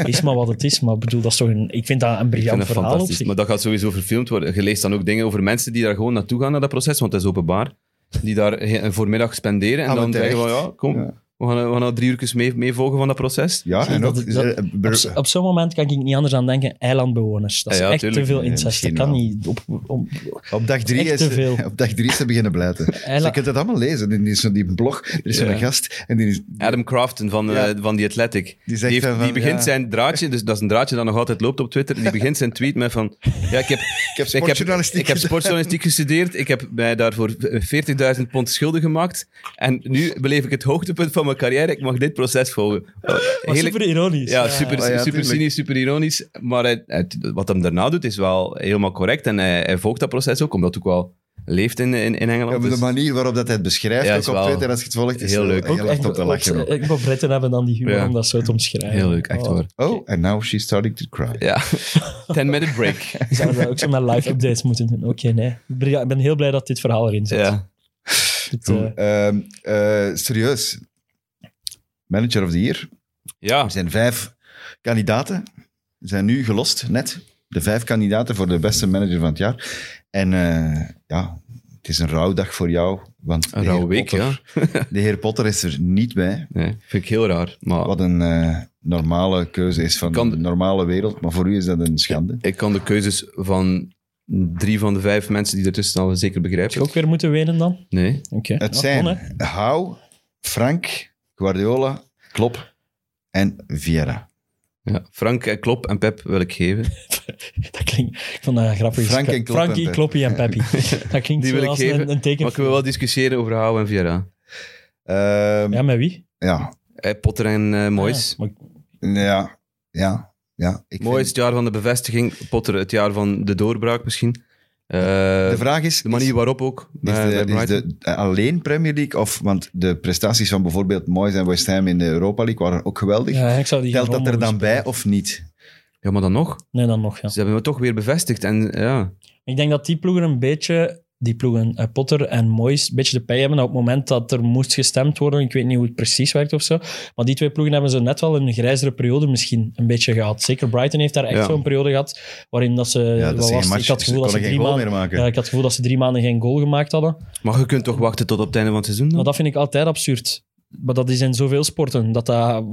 D: is maar wat het is. Maar ik bedoel, dat is toch een... Ik vind dat een
C: Ik vind
D: briljant
C: dat
D: verhaal op
C: fantastisch.
D: zich.
C: Maar dat gaat sowieso verfilmd worden. Je leest dan ook dingen over mensen die daar gewoon naartoe gaan naar dat proces, want dat is openbaar. Die daar he- een voormiddag spenderen en
B: Ah, maar
C: dan zeggen van
B: terecht.
C: ja, kom,
B: Ja.
C: we gaan, we gaan al drie uurtjes mee, meevolgen van dat proces.
B: Ja,
D: Zie,
B: en
D: dat-
B: ook...
D: dat-
B: eh,
D: Op,
B: br-
D: z- op zo'n moment kan ik niet anders aan denken. Eilandbewoners. Dat is
C: Ja, ja,
D: echt
C: tuurlijk.
D: te veel
B: Nee,
D: incest. Dat
B: misschien
D: kan
B: wel.
D: niet. Op, op,
B: Op dag drie
D: Echt
B: is,
D: te veel.
B: Op dag drie is ze beginnen blijten.
D: [laughs]
B: Dus je kunt dat allemaal lezen. In die, zo'n- die blog, er is zo'n
C: Ja.
B: gast en die, is-
C: Adam Crafton van, eh,
B: Ja.
C: van The Athletic.
B: Die
C: Die,
B: zegt
C: heeft-
B: dan van,
C: die begint
B: ja.
C: zijn draadje, dus dat is een draadje dat nog altijd loopt op Twitter, die begint zijn tweet met van... Ja,
B: [laughs]
C: ik heb, ik
B: heb sportjournalistiek
C: Ik heb,
B: gedaan."
C: sportjournalistiek gestudeerd, ik heb mij daarvoor 40.000 pond schulden gemaakt en nu beleef ik het hoogtepunt van mijn carrière, ik mag dit proces volgen. Eh,
D: Maar
C: heerlijk-
D: super ironisch.
C: Ja, super,
B: eh, Ah ja,
C: super
B: tuurlijk.
C: cynisch, super ironisch. Maar hij- hij- wat hem daarna doet, is wel helemaal correct. En hij, hij volgt dat proces ook, omdat hij ook wel leeft in, in, in Engeland.
B: Ja, maar
C: Dus-
B: de manier waarop dat hij het beschrijft,
C: Ja,
B: ook
C: is
B: op
C: wel
B: Twitter, als je het volgt, is
C: heel
B: wel
C: leuk.
B: heel erg op te lachen. ook.
D: Ik wil Britten hebben dan die humor
C: Ja.
D: om dat zo te omschrijven.
C: heel leuk, echt
D: Oh.
C: waar.
B: Oh, and now she's starting to cry.
C: Ja,
B: [laughs]
C: 10-minute break.
D: Zouden we ook zo met live updates moeten doen? Oké, nee. Brilja- Ik ben heel blij dat dit verhaal erin zit.
C: [laughs] Ja.
D: Dit, eh,
B: Cool. Ehm, eh, serieus. Manager of the Year.
C: Ja,
B: Er zijn vijf kandidaten. Ze zijn nu gelost, net. De vijf kandidaten voor de beste manager van het jaar. En eh, ja, het is een rouwdag voor jou. Want
C: een
B: de heer
C: rauwe week, ja.
B: Potter- [laughs] De heer Potter is er niet bij.
C: Nee, vind ik heel raar. Maar
B: Wat een eh, normale keuze is van
C: Ah. Kan-
B: de normale wereld. Maar voor u is dat een schande.
C: ik kan de keuzes van drie van de vijf mensen die ertussen staan wel zeker
D: Heb je
C: begrijpen.
D: ook weer moeten wenen dan?
C: Nee.
D: Oké. nou,
B: Het
D: Ja,
B: zijn
D: bon, hè.
B: Hou, Frank, Guardiola, Klopp en Vieira.
C: Ja. Frank, eh, Klop en Pep wil ik
B: [laughs]
C: geven.
D: [laughs] Dat klinkt... Ik vond dat een grappig.
B: Frank en Klopp
D: Frankie,
B: en
D: Kloppie en Peppy. Dat klinkt
C: [laughs] Die wil
D: zo
C: ik
D: als
C: geven,
D: een, een teken.
C: Maar ik wil wel discussiëren over Hou en Vieira.
B: Ehm,
D: Ja,
B: ja.
D: met wie?
B: Ja,
C: Eh, Potter en eh Moyes.
D: Ah, maar-
B: ja, ja. Ik
C: Mooi is
B: vind-
C: het jaar van de bevestiging. Potter het jaar van de doorbraak misschien. Eh, de,
B: de vraag is...
C: manier waarop ook.
B: Is
C: bij- bij
B: de, is
C: Brighton.
B: de eh, alleen Premier League? Of, want de prestaties van bijvoorbeeld Moyes en West Ham in de Europa League waren ook geweldig.
D: ja, ik zou die
B: Telt
D: gewoon
B: dat er
D: mogen
B: dan bij
D: spelen.
B: of niet?
C: Ja, maar dan nog.
D: Nee, dan nog, ja.
C: Ze hebben het toch weer bevestigd. En ja,
D: Ik denk dat die ploegen een beetje die ploegen eh, Potter en Moyes een beetje de pij hebben dat op het moment dat er moest gestemd worden, ik weet niet hoe het precies werkt of zo, maar die twee ploegen hebben zo net wel een grijzere periode misschien een beetje gehad. Zeker Brighton heeft daar echt
C: Ja.
D: zo'n periode gehad waarin dat ze...
B: Ja,
D: wat
B: dat is
D: was
B: geen
D: het?
B: match.
D: ik had het
B: Ze
D: gevoel dat ze
B: konden geen
D: drie
B: goal
D: maanden...
B: meer maken.
D: Ja, ik had het gevoel dat ze drie maanden geen goal gemaakt hadden.
C: Maar je kunt toch wachten tot op het einde van het seizoen dan?
D: Maar dat vind ik altijd absurd. Maar dat is in zoveel sporten. Dat dat,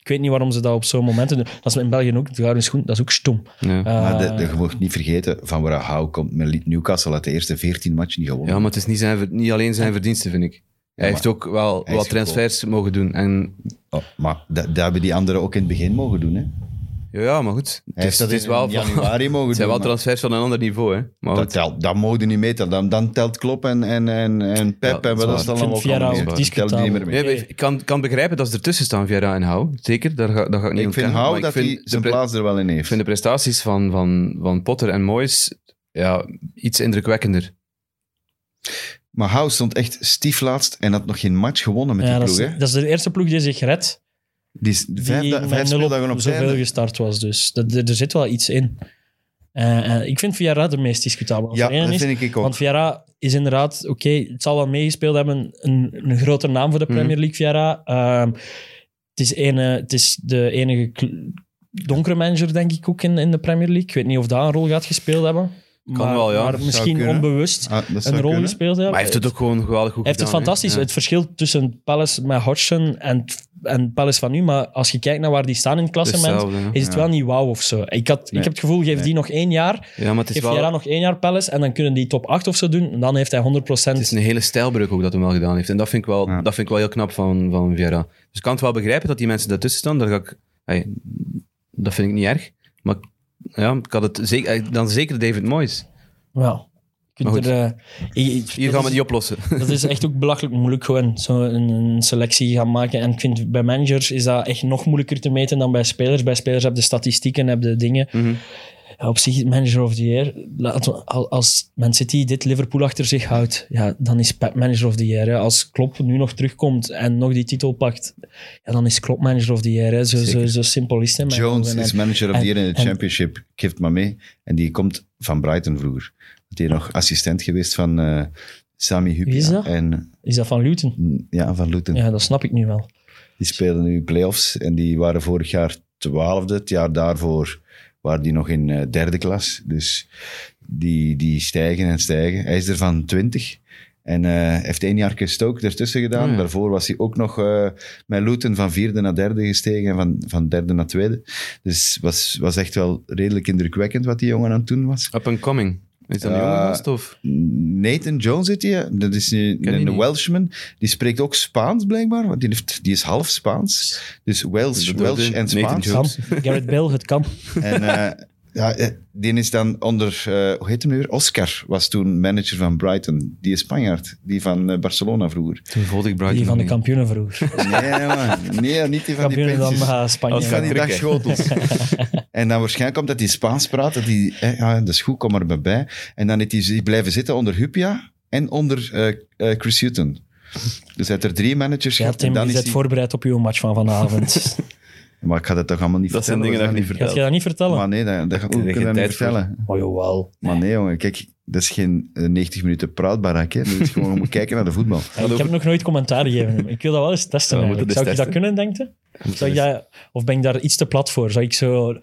D: ik weet niet waarom ze dat op zo'n momenten doen. Dat is in België ook, de gouden schoen, dat is ook stom.
C: Ja.
D: Eh,
B: Maar de, de, je mag niet vergeten, van waar Hou komt met Newcastle uit de eerste 14 matchen niet gewonnen.
C: Ja, maar het is niet, zijn, ver- niet alleen zijn verdiensten, vind ik. Hij
B: maar
C: heeft ook wel
B: hij is
C: wat transfers mogen doen. En,
B: Oh, maar dat, dat hebben die anderen ook in het begin mogen doen. Hè? Hij
C: ja, ja, maar goed. Het is,
B: heeft dat
C: het is wel
B: in
C: van- [laughs]
B: januari mogen
C: het
B: doen.
C: zijn wel
B: maar
C: transfers van een ander niveau, hè. Maar
B: dat,
C: goed.
B: telt, dat mogen niet meetellen. Dan, dan telt Klopp en, en, en, en
C: Ja,
B: Pep
C: dat
B: en
C: is
B: wat
C: waar.
B: is
C: Ik
B: dat
D: vind
B: allemaal
D: Vieira
B: allemaal
D: ook
B: mee?
D: discutabel.
B: Telt die niet meer mee.
C: Nee, maar ik kan, kan begrijpen dat ze ertussen staan, Vera en Hou. Zeker, daar ga, daar ga ik niet
B: ik vind
C: ontkennen. Maar
B: Hou
C: ik
B: dat
C: vind
B: hij
C: de
B: zijn
C: pre-
B: plaats er wel in
C: Ik
B: heeft.
C: vind de prestaties van, van, van Potter en Moyes ja, iets indrukwekkender.
B: Maar Hou stond echt stieflaatst en had nog geen match gewonnen met
D: ja,
B: die
D: dat, is,
B: ploeg. hè?
D: dat is de eerste ploeg die zich redt,
B: Die is
D: die
B: vijf, da- vijf
D: met nul
B: speeldagen
D: op
B: op
D: zoveel
B: zijn.
D: gestart was. Dus dat, er, er zit wel iets in. Eh, eh, ik vind Vieira de meest discutabele. Als
B: Ja,
D: er één
B: dat
D: is,
B: vind ik ook.
D: Want Vieira is inderdaad, oké, het zal wel meegespeeld hebben, een, een grotere naam voor de
C: Mhm.
D: Premier League, Vieira. Ehm, het, is ene, het is de enige kl- donkere manager, denk ik, ook in, in de Premier League. Ik weet niet of dat een rol gaat gespeeld hebben.
C: Kan
D: maar,
C: wel, ja.
D: Maar
C: Zou
D: misschien
B: kunnen.
D: onbewust
B: Ah, dat zou
D: een rol
B: kunnen.
D: gespeeld hebben.
C: Maar hij heeft het ook gewoon geweldig goed
D: Hij heeft het
C: gedaan, hè.
D: fantastisch.
C: Ja.
D: Het verschil tussen Palace met Hodgson en, en Palace van nu, maar als je kijkt naar waar die staan in het klassement,
C: Hetzelfde, hè.
D: is het
B: Ja.
D: wel niet wauw of zo. Ik, had,
B: Nee.
D: ik heb het gevoel, geef die nog één jaar
C: Ja, maar het is
D: Geef
C: wel...
D: Vieira nog één jaar Palace en dan kunnen die top 8 of zo doen. En dan heeft hij 100%.
C: Het is een hele stijlbreuk ook dat hij wel gedaan heeft. En dat vind ik wel,
B: Ja.
C: dat vind ik wel heel knap van, van Vieira. Dus ik kan het wel begrijpen dat die mensen daartussen staan. Daar ga ik, hey, dat vind ik niet erg. Maar ja, ik had het zeker, eh, dan zeker David Moyes.
D: Wel, je kunt
C: Maar goed.
D: er, eh, je- je-
C: Hier
D: dat
C: gaan we
D: is-
C: het niet oplossen. [laughs]
D: Dat is echt ook belachelijk moeilijk gewoon, zo een, een selectie gaan maken. En ik vind bij managers is dat echt nog moeilijker te meten dan bij spelers. Bij spelers heb je de statistieken, heb je de dingen.
C: Mhm.
D: Ja, op zich, manager of the year, laten we- al- als Man City dit Liverpool achter zich houdt, ja, dan is Pep manager of the year. Hè. Als Klopp nu nog terugkomt en nog die titel pakt, ja, dan is Klopp manager of the year. Hè. Zo, zo,
C: Zeker.
D: zo simpel is het. in mijn
B: Jones
D: ogen. En-
B: is manager of the
D: en-
B: year in de
D: en-
B: championship. Ik geef het maar mee. En die komt van Brighton vroeger. Die is nog assistent geweest van eh, Sami Hupia.
D: Wie is dat?
B: En
D: Is dat van Luton?
B: mm, ja, van Luton.
D: Ja, dat snap ik nu wel.
B: Die spelen nu playoffs. En die waren vorig jaar twaalfde. Het jaar daarvoor waren die nog in eh, derde klas. Dus die, die stijgen en stijgen. Hij is er van twintig. En eh, heeft één jaar Stoke ertussen gedaan.
C: Oh ja.
B: Daarvoor was hij ook nog eh, met Luton van vierde naar derde gestegen en van, van derde naar tweede. Dus was, was echt wel redelijk indrukwekkend wat die jongen aan het doen was.
C: Up and coming. Is dat een
B: Ja.
C: jonge gast of?
B: Nathan Jones zit hier, dat is een,
C: die
B: een
C: niet.
B: Welshman. Die spreekt ook Spaans blijkbaar, want die, heeft, die is half Spaans. Dus Welsh,
C: Dat doet
B: Welsh
C: hij.
B: en
C: Nathan
B: Spaans.
D: Kan.
C: Jones.
D: Garrett Bale, het kan.
B: En eh, ja, eh, die is dan onder, eh, hoe heet hem nu weer? Oscar was toen manager van Brighton. Die is Spanjaard, die van eh, Barcelona vroeger.
C: Toen volgde ik Brighton
D: Die van de
C: nog niet.
D: kampioenen vroeger.
B: Nee, man. nee niet die van die
D: Kampioenen dan
B: pensjes.
D: eh,
B: Die
D: Spanje.
B: van die
C: Krikke.
B: dagschotels. [laughs] en dan waarschijnlijk omdat hij Spaans praat, dat hij, eh, ja, dat is goed, kom er maar bij. En dan is hij die blijven zitten onder Hupia en onder eh eh, Chris Hutton. Dus hij heeft er drie managers
D: Ja,
B: gehad. en
D: Tim,
B: dan
D: je
B: is
D: bent
B: hij...
D: voorbereid op uw match van vanavond.
B: Maar ik ga dat toch allemaal niet
C: Dat zijn
B: vertellen.
C: dingen dat ik niet
D: Gaat je
C: vertel.
D: dat niet vertellen?
B: Maar nee, dat, dat,
C: er
B: hoe
C: geen
B: kun je dat niet
C: tijd voor.
B: vertellen?
D: Oh, jawel.
B: Maar nee, jongen, kijk, dat is geen eh, 90 minuten praatbarak. Hè. Dat is gewoon om [laughs] kijken naar de voetbal.
D: Ja, ik heb nog nooit commentaar gegeven. Ik wil dat wel eens testen.
C: Ja, we
D: eigenlijk.
C: moeten
D: Zou ik
C: dit
D: dat kunnen, denk je? Zou ik dat, of ben ik daar iets te plat voor? Zou ik zo...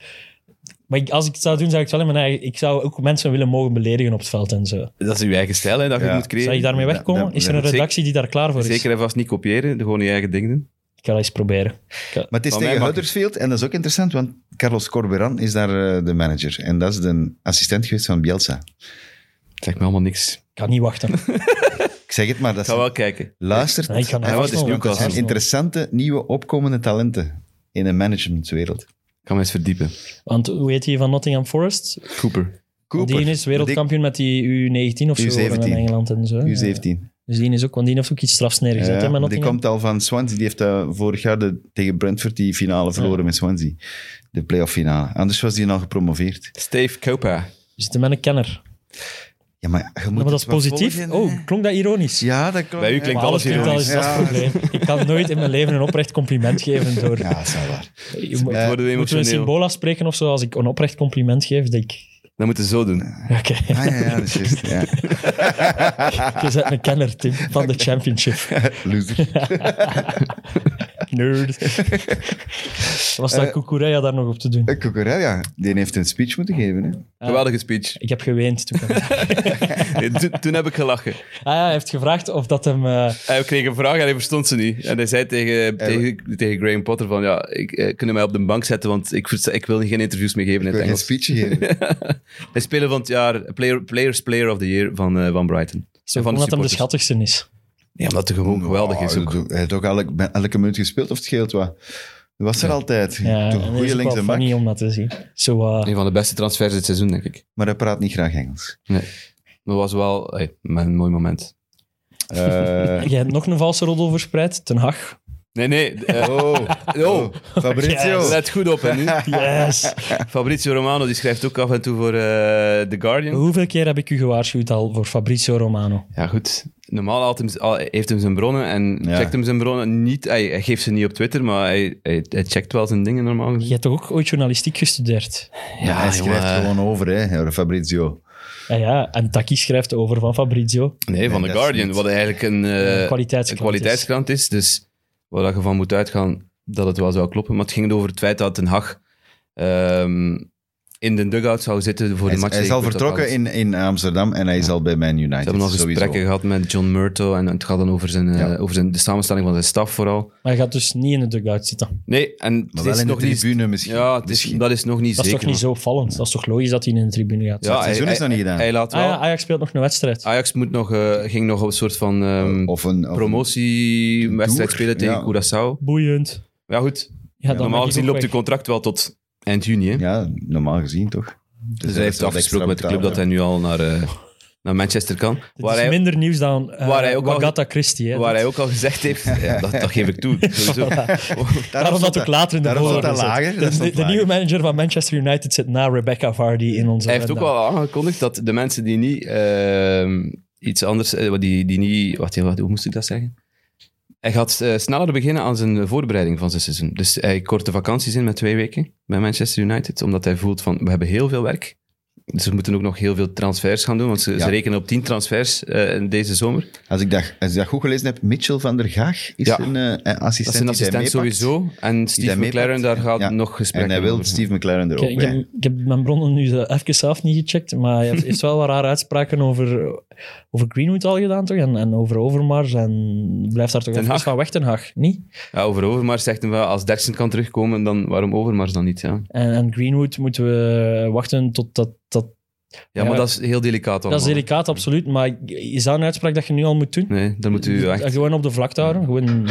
D: Maar ik- als ik het zou doen, zou ik het wel in mijn eigen... Ik zou ook mensen willen mogen beledigen op het veld en zo.
C: Dat is uw eigen stijl hè, dat je
B: Ja.
C: moet creëren.
D: Zou ik daarmee
B: Ja,
D: wegkomen?
B: dat-
D: is er een
C: dat-
D: redactie die daar klaar voor is?
C: Zeker en vast niet kopiëren, gewoon je eigen ding doen.
D: Ik ga dat eens proberen.
B: Maar het is
C: Van mij
B: tegen
C: mag
B: Huddersfield en dat is ook interessant, want Carlos Corberan is daar eh, de manager. En dat is de assistent geweest van Bielsa.
C: Het zegt me allemaal niks.
D: Ik ga niet wachten.
B: Ik zeg het maar, dat
C: Ik ga
B: is,
C: wel kijken.
B: luistert.
D: Nee, ik ga naar
B: en wat
D: Arsenal,
B: is nu?
D: want dat
B: Dat
D: is
B: zijn
D: Arsenal.
B: interessante, nieuwe, opkomende talenten in de managementwereld.
C: Ik ga me eens verdiepen.
D: Want hoe heet die van Nottingham Forest?
C: Cooper.
B: Cooper,
D: Die is wereldkampioen met die U19 of zo
B: U17.
D: geworden in Engeland en zo.
B: U17.
D: Ja. Dus die is ook, want die heeft ook iets strafs neergezet. hè,
B: Ja,
D: met
B: Eh, die
D: Nottingham.
B: komt al van Swansea. Die heeft eh, vorig jaar de, tegen Brentford die finale verloren met Swansea. De playoff finale. Anders was die al gepromoveerd.
C: Steve Cooper.
D: We zitten met een kenner.
B: Ja, maar je moet
D: Ja, maar dat is
B: het wel
D: positief.
B: volgen, hè.
D: oh, klonk dat ironisch?
B: Ja, dat klopt.
C: Bij u
B: Ja.
C: klinkt
D: Maar
C: alles
D: alles klinkt wel
C: ironisch.
D: eens, dat is het probleem. Ik kan nooit in mijn leven een oprecht compliment geven door...
B: Ja, dat is wel waar.
D: Je moet-
B: Eh,
C: Worden we
D: Moeten we een
C: emotioneel.
D: symbool afspreken of zo? Als ik een oprecht compliment geef, dat ik...
C: Dan moeten ze zo doen.
D: Oké, [laughs]
B: Ah, ja, ja, dat is juist. Ja.
D: je bent een kenner, Tim, van de championship.
B: Loser.
D: Nerd. Was dat Kukureya daar nog op te doen?
B: Cucurella, die heeft een speech moeten geven. Hè.
C: Geweldige
D: [laughs]
C: speech.
D: Ik heb geweend toen.
C: toen, toen heb ik gelachen.
D: Ah ja, hij heeft gevraagd of dat hem... eh,
C: Hij kreeg een vraag en hij verstond ze niet. En hij zei tegen,
B: Eh,
C: tegen, tegen Graham Potter van, ja, ik, eh, kunnen mij op de bank zetten, want ik, versta- ik wil geen interviews meer geven in
B: Ik
C: het
B: wil geen
C: Engels.
B: speech
C: [laughs]
B: geven.
C: Hij speler van het jaar, player, Players Player of the Year van, eh, van Brighton.
D: zo,
C: En van
D: omdat hem de
C: supporters.
D: schattigste is.
C: Ja, omdat hij gewoon geweldig is.
B: Oh,
C: Ook.
B: Hij heeft ook elke, bij elke minuut gespeeld, of het scheelt wat. Dat was er altijd.
D: Ja,
B: Toch
D: en
B: een
D: dat is
B: goede
D: ook wel
B: linkse bak.
D: funny om dat te zien. Zo, eh,
C: Een van de beste transfers dit seizoen, denk ik.
B: Maar hij praat niet graag
C: [laughs]
B: Engels.
C: Dat was wel hey, een mooi moment.
B: Eh,
D: Jij hebt nog een valse roddel verspreid, Ten Hag.
C: Nee, nee. eh,
B: oh,
C: [laughs] oh,
B: Fabrizio.
D: Yes.
C: let goed op. hè, nu.
D: Yes.
C: Fabrizio Romano die schrijft ook af en toe voor eh, The Guardian.
D: Hoeveel keer heb ik u gewaarschuwd al voor Fabrizio Romano?
C: Ja, goed. Normaal haalt hem, al- heeft hem zijn bronnen en
B: Ja.
C: checkt hem zijn bronnen niet. Hij, hij geeft ze niet op Twitter, maar hij, hij, hij checkt wel zijn dingen normaal
D: Je
C: gezien.
D: hebt toch ook ooit journalistiek gestudeerd?
B: Ja, hij schrijft
C: jongen.
B: gewoon over, hè, Fabrizio.
D: Ja, Ah ja. En Taki schrijft over van Fabrizio.
C: Nee, van
B: Nee, dat
C: The
B: is
C: Guardian,
B: niet-
C: wat eigenlijk een, eh,
D: Een kwaliteitskrant
C: een kwaliteitskrant is. Dus waar dat je van moet uitgaan dat het wel zou kloppen. Maar het ging over het feit dat Den Haag ehm, in de dugout zou zitten
B: Hij
C: voor de
B: is,
C: match.
B: hij is
C: tegen
B: al vertrokken
C: Crystal
B: in, in Amsterdam en hij is al bij Man United.
C: Palace. Ze hebben al
B: sowieso.
C: gesprekken gehad met John Murto en het gaat dan over, zijn, eh,
B: Ja.
C: over zijn, de samenstelling van zijn staf vooral.
D: Maar hij gaat dus niet in de dugout zitten.
C: Nee, en
B: Maar
C: het
B: wel
C: is
B: in de
C: nog niet...
B: tribune misschien.
C: Ja, het is,
B: Misschien.
C: dat is nog niet
D: Dat is
C: zeker.
D: toch niet zo opvallend? Dat is toch logisch dat hij in de tribune gaat?
C: Ja,
B: het seizoen
C: hij-
B: is nog niet gedaan.
C: Hij laat
D: Ah
C: wel.
D: ja, Ajax speelt nog een wedstrijd.
C: Ajax moet nog, eh, ging nog op een soort van ehm
B: of een, of een-
C: promotiewedstrijd
B: Tour,
C: spelen tegen
B: ja.
C: Curaçao.
D: Boeiend.
C: Ja, goed.
D: Ja, dan mag
C: Normaal
D: ik
C: gezien
D: ook
C: loopt
D: weg.
C: uw contract wel tot eind juni. Hè?
B: Ja, normaal gezien toch?
C: Dus hij heeft afgesproken met de club dat hij nu al naar, eh, naar Manchester kan.
D: Dit
C: Waar
D: is
C: hij,
D: minder nieuws dan eh
C: waar hij ook al-
D: Wagata Christie. Hè,
C: waar
D: Dat-
C: hij ook al gezegd heeft, ja, dat, dat geef ik toe. Sowieso.
D: Daarom dat ook later in de
B: daarom zat
D: voorwaarden
B: dat
D: zat.
B: lager, dat
D: De,
B: stond
D: de- de nieuwe
B: lager.
D: manager van Manchester United zit na Rebecca Vardy in onze
C: Hij heeft ook
D: agenda.
C: wel aangekondigd dat de mensen die niet ehm, iets anders, eh, wat die, die niet, wat, wat, hoe moest ik dat zeggen? Hij gaat eh, sneller beginnen aan zijn voorbereiding van zijn seizoen. Dus hij kort de vakanties in met twee weken bij Manchester United, omdat hij voelt van, we hebben heel veel werk. Dus we moeten ook nog heel veel transfers gaan doen, want ze,
B: Ja.
C: ze rekenen op tien transfers eh, deze zomer.
B: Als ik, dat, als ik dat goed gelezen heb, Mitchell van der Gaag is
C: Ja.
B: een eh, assistent.
C: Dat is een
B: die hij
C: assistent
B: meepakt.
C: sowieso. En Steve
B: meepakt.
C: McLaren, daar gaat
B: Ja.
C: nog gesprekken
B: En hij wil
C: over zijn.
B: Steve McLaren er
D: Ik,
B: ook
D: ik, heb,
B: bij.
D: ik heb mijn bronnen nu even zelf niet gecheckt, maar hij heeft- heeft wel wat rare uitspraken over, over Greenwood al gedaan, toch? En, en over Overmars. En blijft daar toch
C: Ten
D: even
C: Hag.
D: van weg, Ten Hag, niet?
C: Ja, over Overmars zegt hij wel, als Derksen kan terugkomen, dan waarom Overmars dan niet? Ja,
D: En, en Greenwood moeten we wachten tot dat... dat
C: ja, maar dat is heel delicaat allemaal.
D: dat is delicaat, absoluut, maar is dat een uitspraak dat je nu al moet doen?
C: Nee, dan
D: Dus
C: moet u echt... Maar
D: Gewoon op de vlakte houden, gewoon...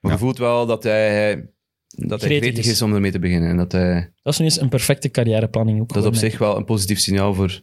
C: je voelt wel dat hij, dat hij
D: Gretig
C: gretig
D: is.
C: is om ermee te beginnen. En dat, hij,
D: Dat is nu eens een perfecte carrièreplanning ook.
C: dat is op
D: gewoon,
C: zich wel een positief signaal voor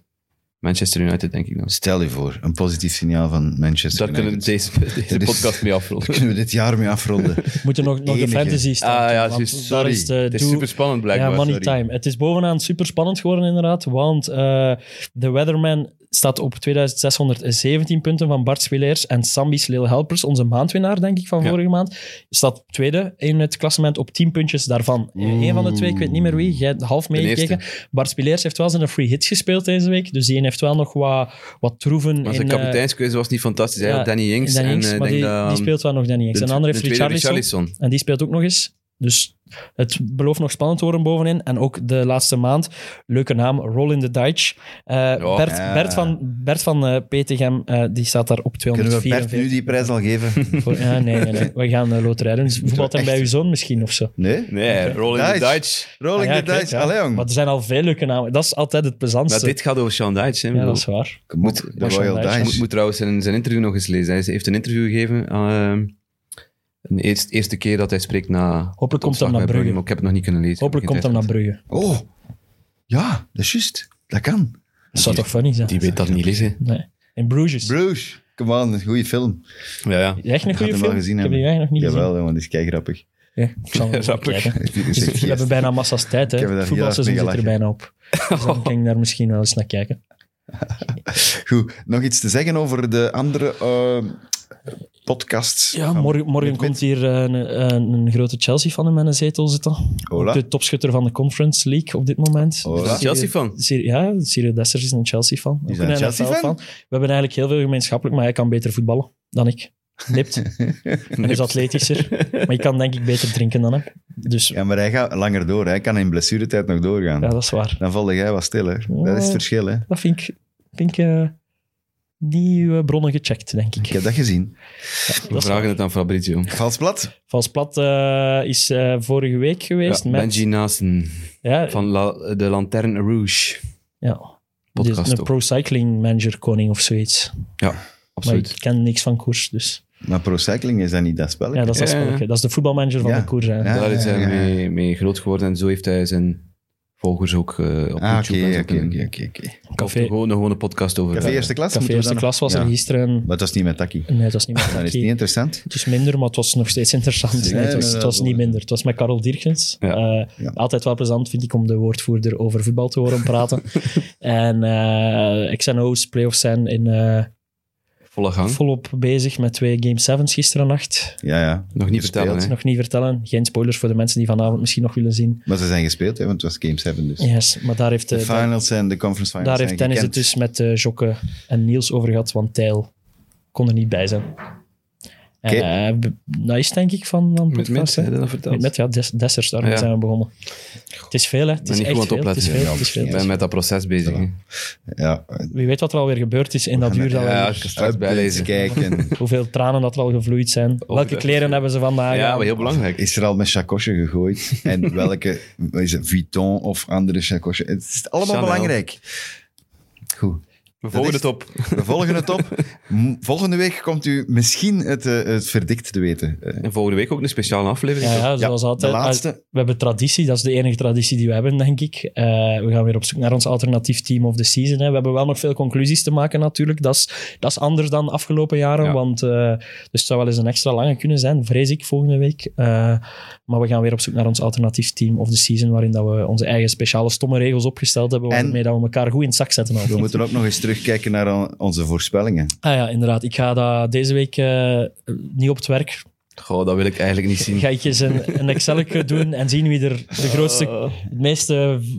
C: Manchester United, denk ik dan.
B: Stel je voor, een positief signaal van Manchester
C: Daar kunnen we
B: United.
C: deze, deze
D: [laughs]
B: Er is-
C: podcast mee
B: Daar
C: afronden.
B: kunnen we dit jaar mee
C: [laughs]
B: afronden.
D: We moeten nog, nog de
B: enige.
D: fantasy staan.
C: Ah, ja,
D: want
C: juist.
D: daar
C: Sorry.
D: is de
C: Het is
D: doel-
C: super spannend, blijkbaar.
D: Ja, money
B: sorry.
D: time. Het is bovenaan super spannend geworden, inderdaad. Want eh, de Weatherman staat op 2617 punten van Bart Spileers en Sambi's Lil Helpers, onze maandwinnaar, denk ik, van
C: Ja.
D: vorige maand. Staat op tweede in het klassement op 10 puntjes daarvan. Eén van de twee, ik weet niet meer wie. Jij hebt half meegekeken. Bart Spileers heeft wel zijn free hits gespeeld deze week. Dus die heeft wel nog wat, wat troeven.
C: Maar
D: in,
C: zijn
D: eh,
C: kapiteinskeuze was niet fantastisch. Hij
D: ja,
C: had Danny Jinks.
D: Danny
C: en,
D: Ings,
C: eh,
D: maar
C: denk
D: die,
C: dat-
D: die speelt wel nog Danny Ings.
C: de-
D: en de andere
C: de
D: heeft
C: tweede
D: Richarlison.
C: Richarlison.
D: En die speelt ook nog eens. Dus het belooft nog spannend te worden bovenin. En ook de laatste maand, leuke naam, Roll in the Dutch. Eh, Bert,
B: Oh, ja.
D: Bert van, Bert van eh Petegem, eh, die staat daar op
B: Kunnen we Bert
D: 244.
B: nu die prijs al
D: [laughs]
B: geven?
D: Voor- ja, nee, nee, nee, we gaan eh, loterij doen. Voetbal dan bij uw zoon misschien of zo.
B: Nee?
C: Nee, Rolling the
B: Dice.
C: Dutch.
B: Rolling
D: Ah
B: the
D: ja, ik weet,
B: dice.
D: ja.
B: Allee, jong.
D: Maar er zijn al veel leuke namen. Dat is altijd het plezantste.
C: Maar dit gaat over Sean Dyche. hè,
D: ja,
C: bedoel.
D: dat is waar.
B: Moet de Royal
D: Dice.
C: Ik moet,
B: Dice.
C: moet trouwens zijn, zijn interview nog eens lezen. Hij heeft een interview gegeven. ehm, de eerste, eerste keer dat hij spreekt na. het
D: komt
C: ontslag
D: hem naar
C: bij
D: Brugge.
C: maar ik heb het nog niet kunnen lezen.
D: Hopelijk
C: Ik heb
D: komt
C: geen
D: hem naar
C: tijd
D: Brugge.
B: Oh, ja, dat is juist. Dat kan.
D: Dat zou toch funny zijn?
C: gehad. Die weet dat niet lezen.
D: Nee. In Bruges.
B: Bruges, come on, een goede film.
C: Ja, ja.
D: Echt een
B: Ik had
D: goede
B: hem
D: film?
B: wel gezien
D: ik heb die
B: hebben.
D: eigenlijk nog niet gezien.
B: Jawel, jongen, die is kei grappig.
D: Ja, ik zal hem [laughs] eens
C: Grappig.
D: bekijken.
B: Die [laughs] is echt
D: We hebben
B: geest.
D: bijna massa's tijd. Hè.
B: Ik heb er
D: Het
B: daar
D: voetbalseizoen
B: heel
D: zit
B: hard
D: er
B: mee
D: bijna [laughs] op. Dus dan kan ik daar misschien wel eens naar kijken.
B: Goed, nog iets te zeggen over de andere eh, podcasts.
D: Ja,
B: van
D: morgen, morgen
B: Wit
D: komt hier eh, een, een, een grote Chelsea-fan in mijn zetel zitten.
B: Hola.
D: Ook De topschutter van de Conference League op dit moment.
B: Hola.
D: Dus
B: Is dat
D: Cyril-
C: Chelsea-fan?
D: Cyril- Ja, Cyril Dessers is een Chelsea-fan.
B: Is
D: Ook
B: hij een Chelsea-fan?
D: NFL-fan. We hebben eigenlijk heel veel gemeenschappelijk, maar hij kan beter voetballen dan ik. Nipt. Hij [laughs] is
B: [laughs]
D: atletischer. Maar ik kan denk ik beter drinken dan hem. Dus ja,
B: Ja, maar hij gaat langer door. Hij kan in blessuretijd nog doorgaan.
D: dat is waar.
B: Dan valde jij wat stil, hè. Dat is het verschil, hè.
D: Dat vind ik, vind ik eh, niet uw bronnen gecheckt, denk ik.
B: Ik heb dat gezien.
D: Ja,
C: We
D: dat is waar.
C: vragen het aan Fabrizio.
B: Vals plat.
D: Vals Plat eh, is eh, vorige week
C: Ja,
D: geweest met...
C: Benji Naasten
D: ja,
C: van La- de Lanterne Rouge
D: ja.
C: podcast
D: Dus een
C: ook.
D: pro cycling manager koning of zoiets.
C: Absoluut.
D: Maar ik ken niks van koers, dus...
B: Maar pro-cycling is dat niet dat spelletje.
D: Ja, dat is dat
C: Ja, ja, ja.
D: spelletje. Dat is de voetbalmanager van
B: Ja.
D: de koers. hè.
B: Ja.
C: Daar is hij
B: ja, ja.
C: Mee, mee groot geworden en zo heeft hij zijn volgers ook eh, op
B: Ah,
C: YouTube. en
B: oké,
C: zo
B: oké,
C: kunnen-
B: oké, oké, oké.
C: Of
D: Café,
C: er Gewoon, gewoon een podcast over. eh,
B: Café
C: Ja.
B: eerste klas?
D: café
B: moeten we
D: eerste
B: dan-
D: klas was er
B: Ja.
D: gisteren.
B: Maar dat is niet met Taki.
D: Nee, dat was
B: [laughs]
D: niet meer.
B: Dat is niet interessant.
D: Het is minder, maar het was nog steeds interessant.
B: Nee,
D: Nee, het was,
B: nee,
D: het was
B: dat-
D: niet minder. Het was met Karel Dierkens.
C: Ja.
D: Eh,
B: Ja.
D: Altijd wel plezant, vind ik, om de woordvoerder over voetbal te horen
B: [laughs]
D: praten. en eh XNO's playoffs zijn in, eh,
C: Volle gang.
D: volop bezig met twee Game 7's gisteren nacht.
B: Ja, ja.
C: Nog niet
B: Gespeeld.
C: vertellen, hè.
D: Nog niet vertellen. Geen spoilers voor de mensen die vanavond misschien nog willen zien.
B: Maar ze zijn gespeeld, hè, want het was Game 7 dus.
D: Yes, maar daar heeft,
B: De
D: eh, daar,
B: finals en de conference finals
D: daar heeft
B: zijn
D: Dennis het
B: gekend.
D: dus met eh Jokke en Niels over gehad, want Tijl kon er niet bij zijn. En,
B: Oké.
D: eh, be- nice, denk ik, van, van
C: Met
D: podcast.
C: mensen,
D: hè.
C: hè, dat verteld.
D: Met, met ja, Des- Dessers, daarmee
C: Ja.
D: zijn we begonnen. Het is veel, hè. Het
C: ben
D: is
C: niet
D: echt
C: goed aan het
D: veel. Het is
C: opletten.
D: veel, het is veel.
C: Ik ben met dat proces bezig.
B: Voilà.
C: hè.
D: dus
B: Ja,
D: Wie weet wat er alweer gebeurd is in dat uur. Dat we-
C: Ja, ik kan straks
B: uit
C: bijlezen.
B: [laughs] kijken.
D: Hoeveel tranen dat er al gevloeid zijn. Welke
C: de-
D: kleren hebben ze vandaag?
C: Ja,
D: aan?
C: maar heel belangrijk.
B: Is er al met chacosje gegooid? [laughs] En welke, wat is het, Vuitton of andere chacosje? Het is allemaal
C: Chanel.
B: belangrijk. Goed.
C: We
B: is-
C: volgen het op.
B: We volgen het op. M- Volgende week komt u misschien het, eh, het verdict te weten. Eh,
C: En volgende week ook een speciale aflevering.
D: Ja, ja,
B: Ja,
D: zoals altijd.
B: de laatste.
D: Ah, We hebben traditie, dat is de enige traditie die we hebben, denk ik. Eh, we gaan weer op zoek naar ons alternatief team of the season. Hè. We hebben wel nog veel conclusies te maken natuurlijk. Dat is, dat is anders dan afgelopen jaren,
C: Ja.
D: want eh, dus het zou wel eens een extra lange kunnen zijn, vrees ik, volgende week. Eh, maar we gaan weer op zoek naar ons alternatief team of the season, waarin dat we onze eigen speciale stomme regels opgesteld hebben,
B: En-
D: waarmee dat we elkaar goed in het zak zetten.
B: we
D: altijd.
B: moeten ook nog eens terugkijken naar on- onze voorspellingen.
D: Ah ja, inderdaad. Ik ga dat deze week eh, niet op het werk
C: Goh, dat wil ik eigenlijk niet zien.
D: ga ik eens een, een Excel doen en zien wie er de grootste, het meeste,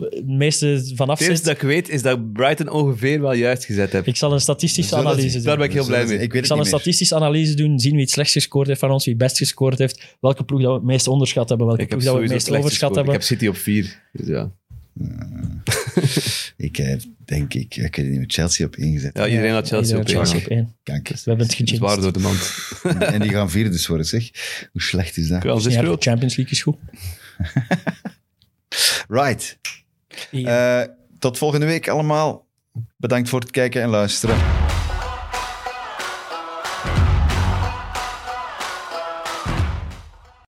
D: het meeste vanaf
C: Oh. Het eerste
D: zit.
C: dat ik weet is dat Brighton ongeveer wel juist gezet heeft.
D: Ik zal een statistische
B: We zullen
D: analyse
B: zien.
D: doen.
C: Daar ben ik heel blij mee.
B: Ik weet
D: Ik
B: het
D: zal een
B: niet meer.
D: statistische analyse doen, zien wie het slechtst gescoord heeft van ons, wie het best gescoord heeft, welke ploeg dat we het meest onderschat hebben, welke
C: Ik heb
D: ploeg dat we het
C: sowieso
D: meest
C: slecht
D: overschat
C: gescoord. Ik
D: hebben.
C: heb City op 4. Dus ja.
B: Ik eh, denk, ik, ik weet het niet meer, Chelsea op ingezet.
C: ja, iedereen had Chelsea
D: Iedereen
C: op
D: had
C: 1.
D: eh, Chelsea op één.
B: Kanker.
D: We hebben het
C: Het is waar
D: gejinxed.
C: door de mand.
B: En die gaan vierdes worden, zeg. Hoe slecht is dat?
C: Kans is
D: Ja, de
C: groot.
D: Champions League is goed.
B: Right. Eh, tot volgende week allemaal. Bedankt voor het kijken en luisteren.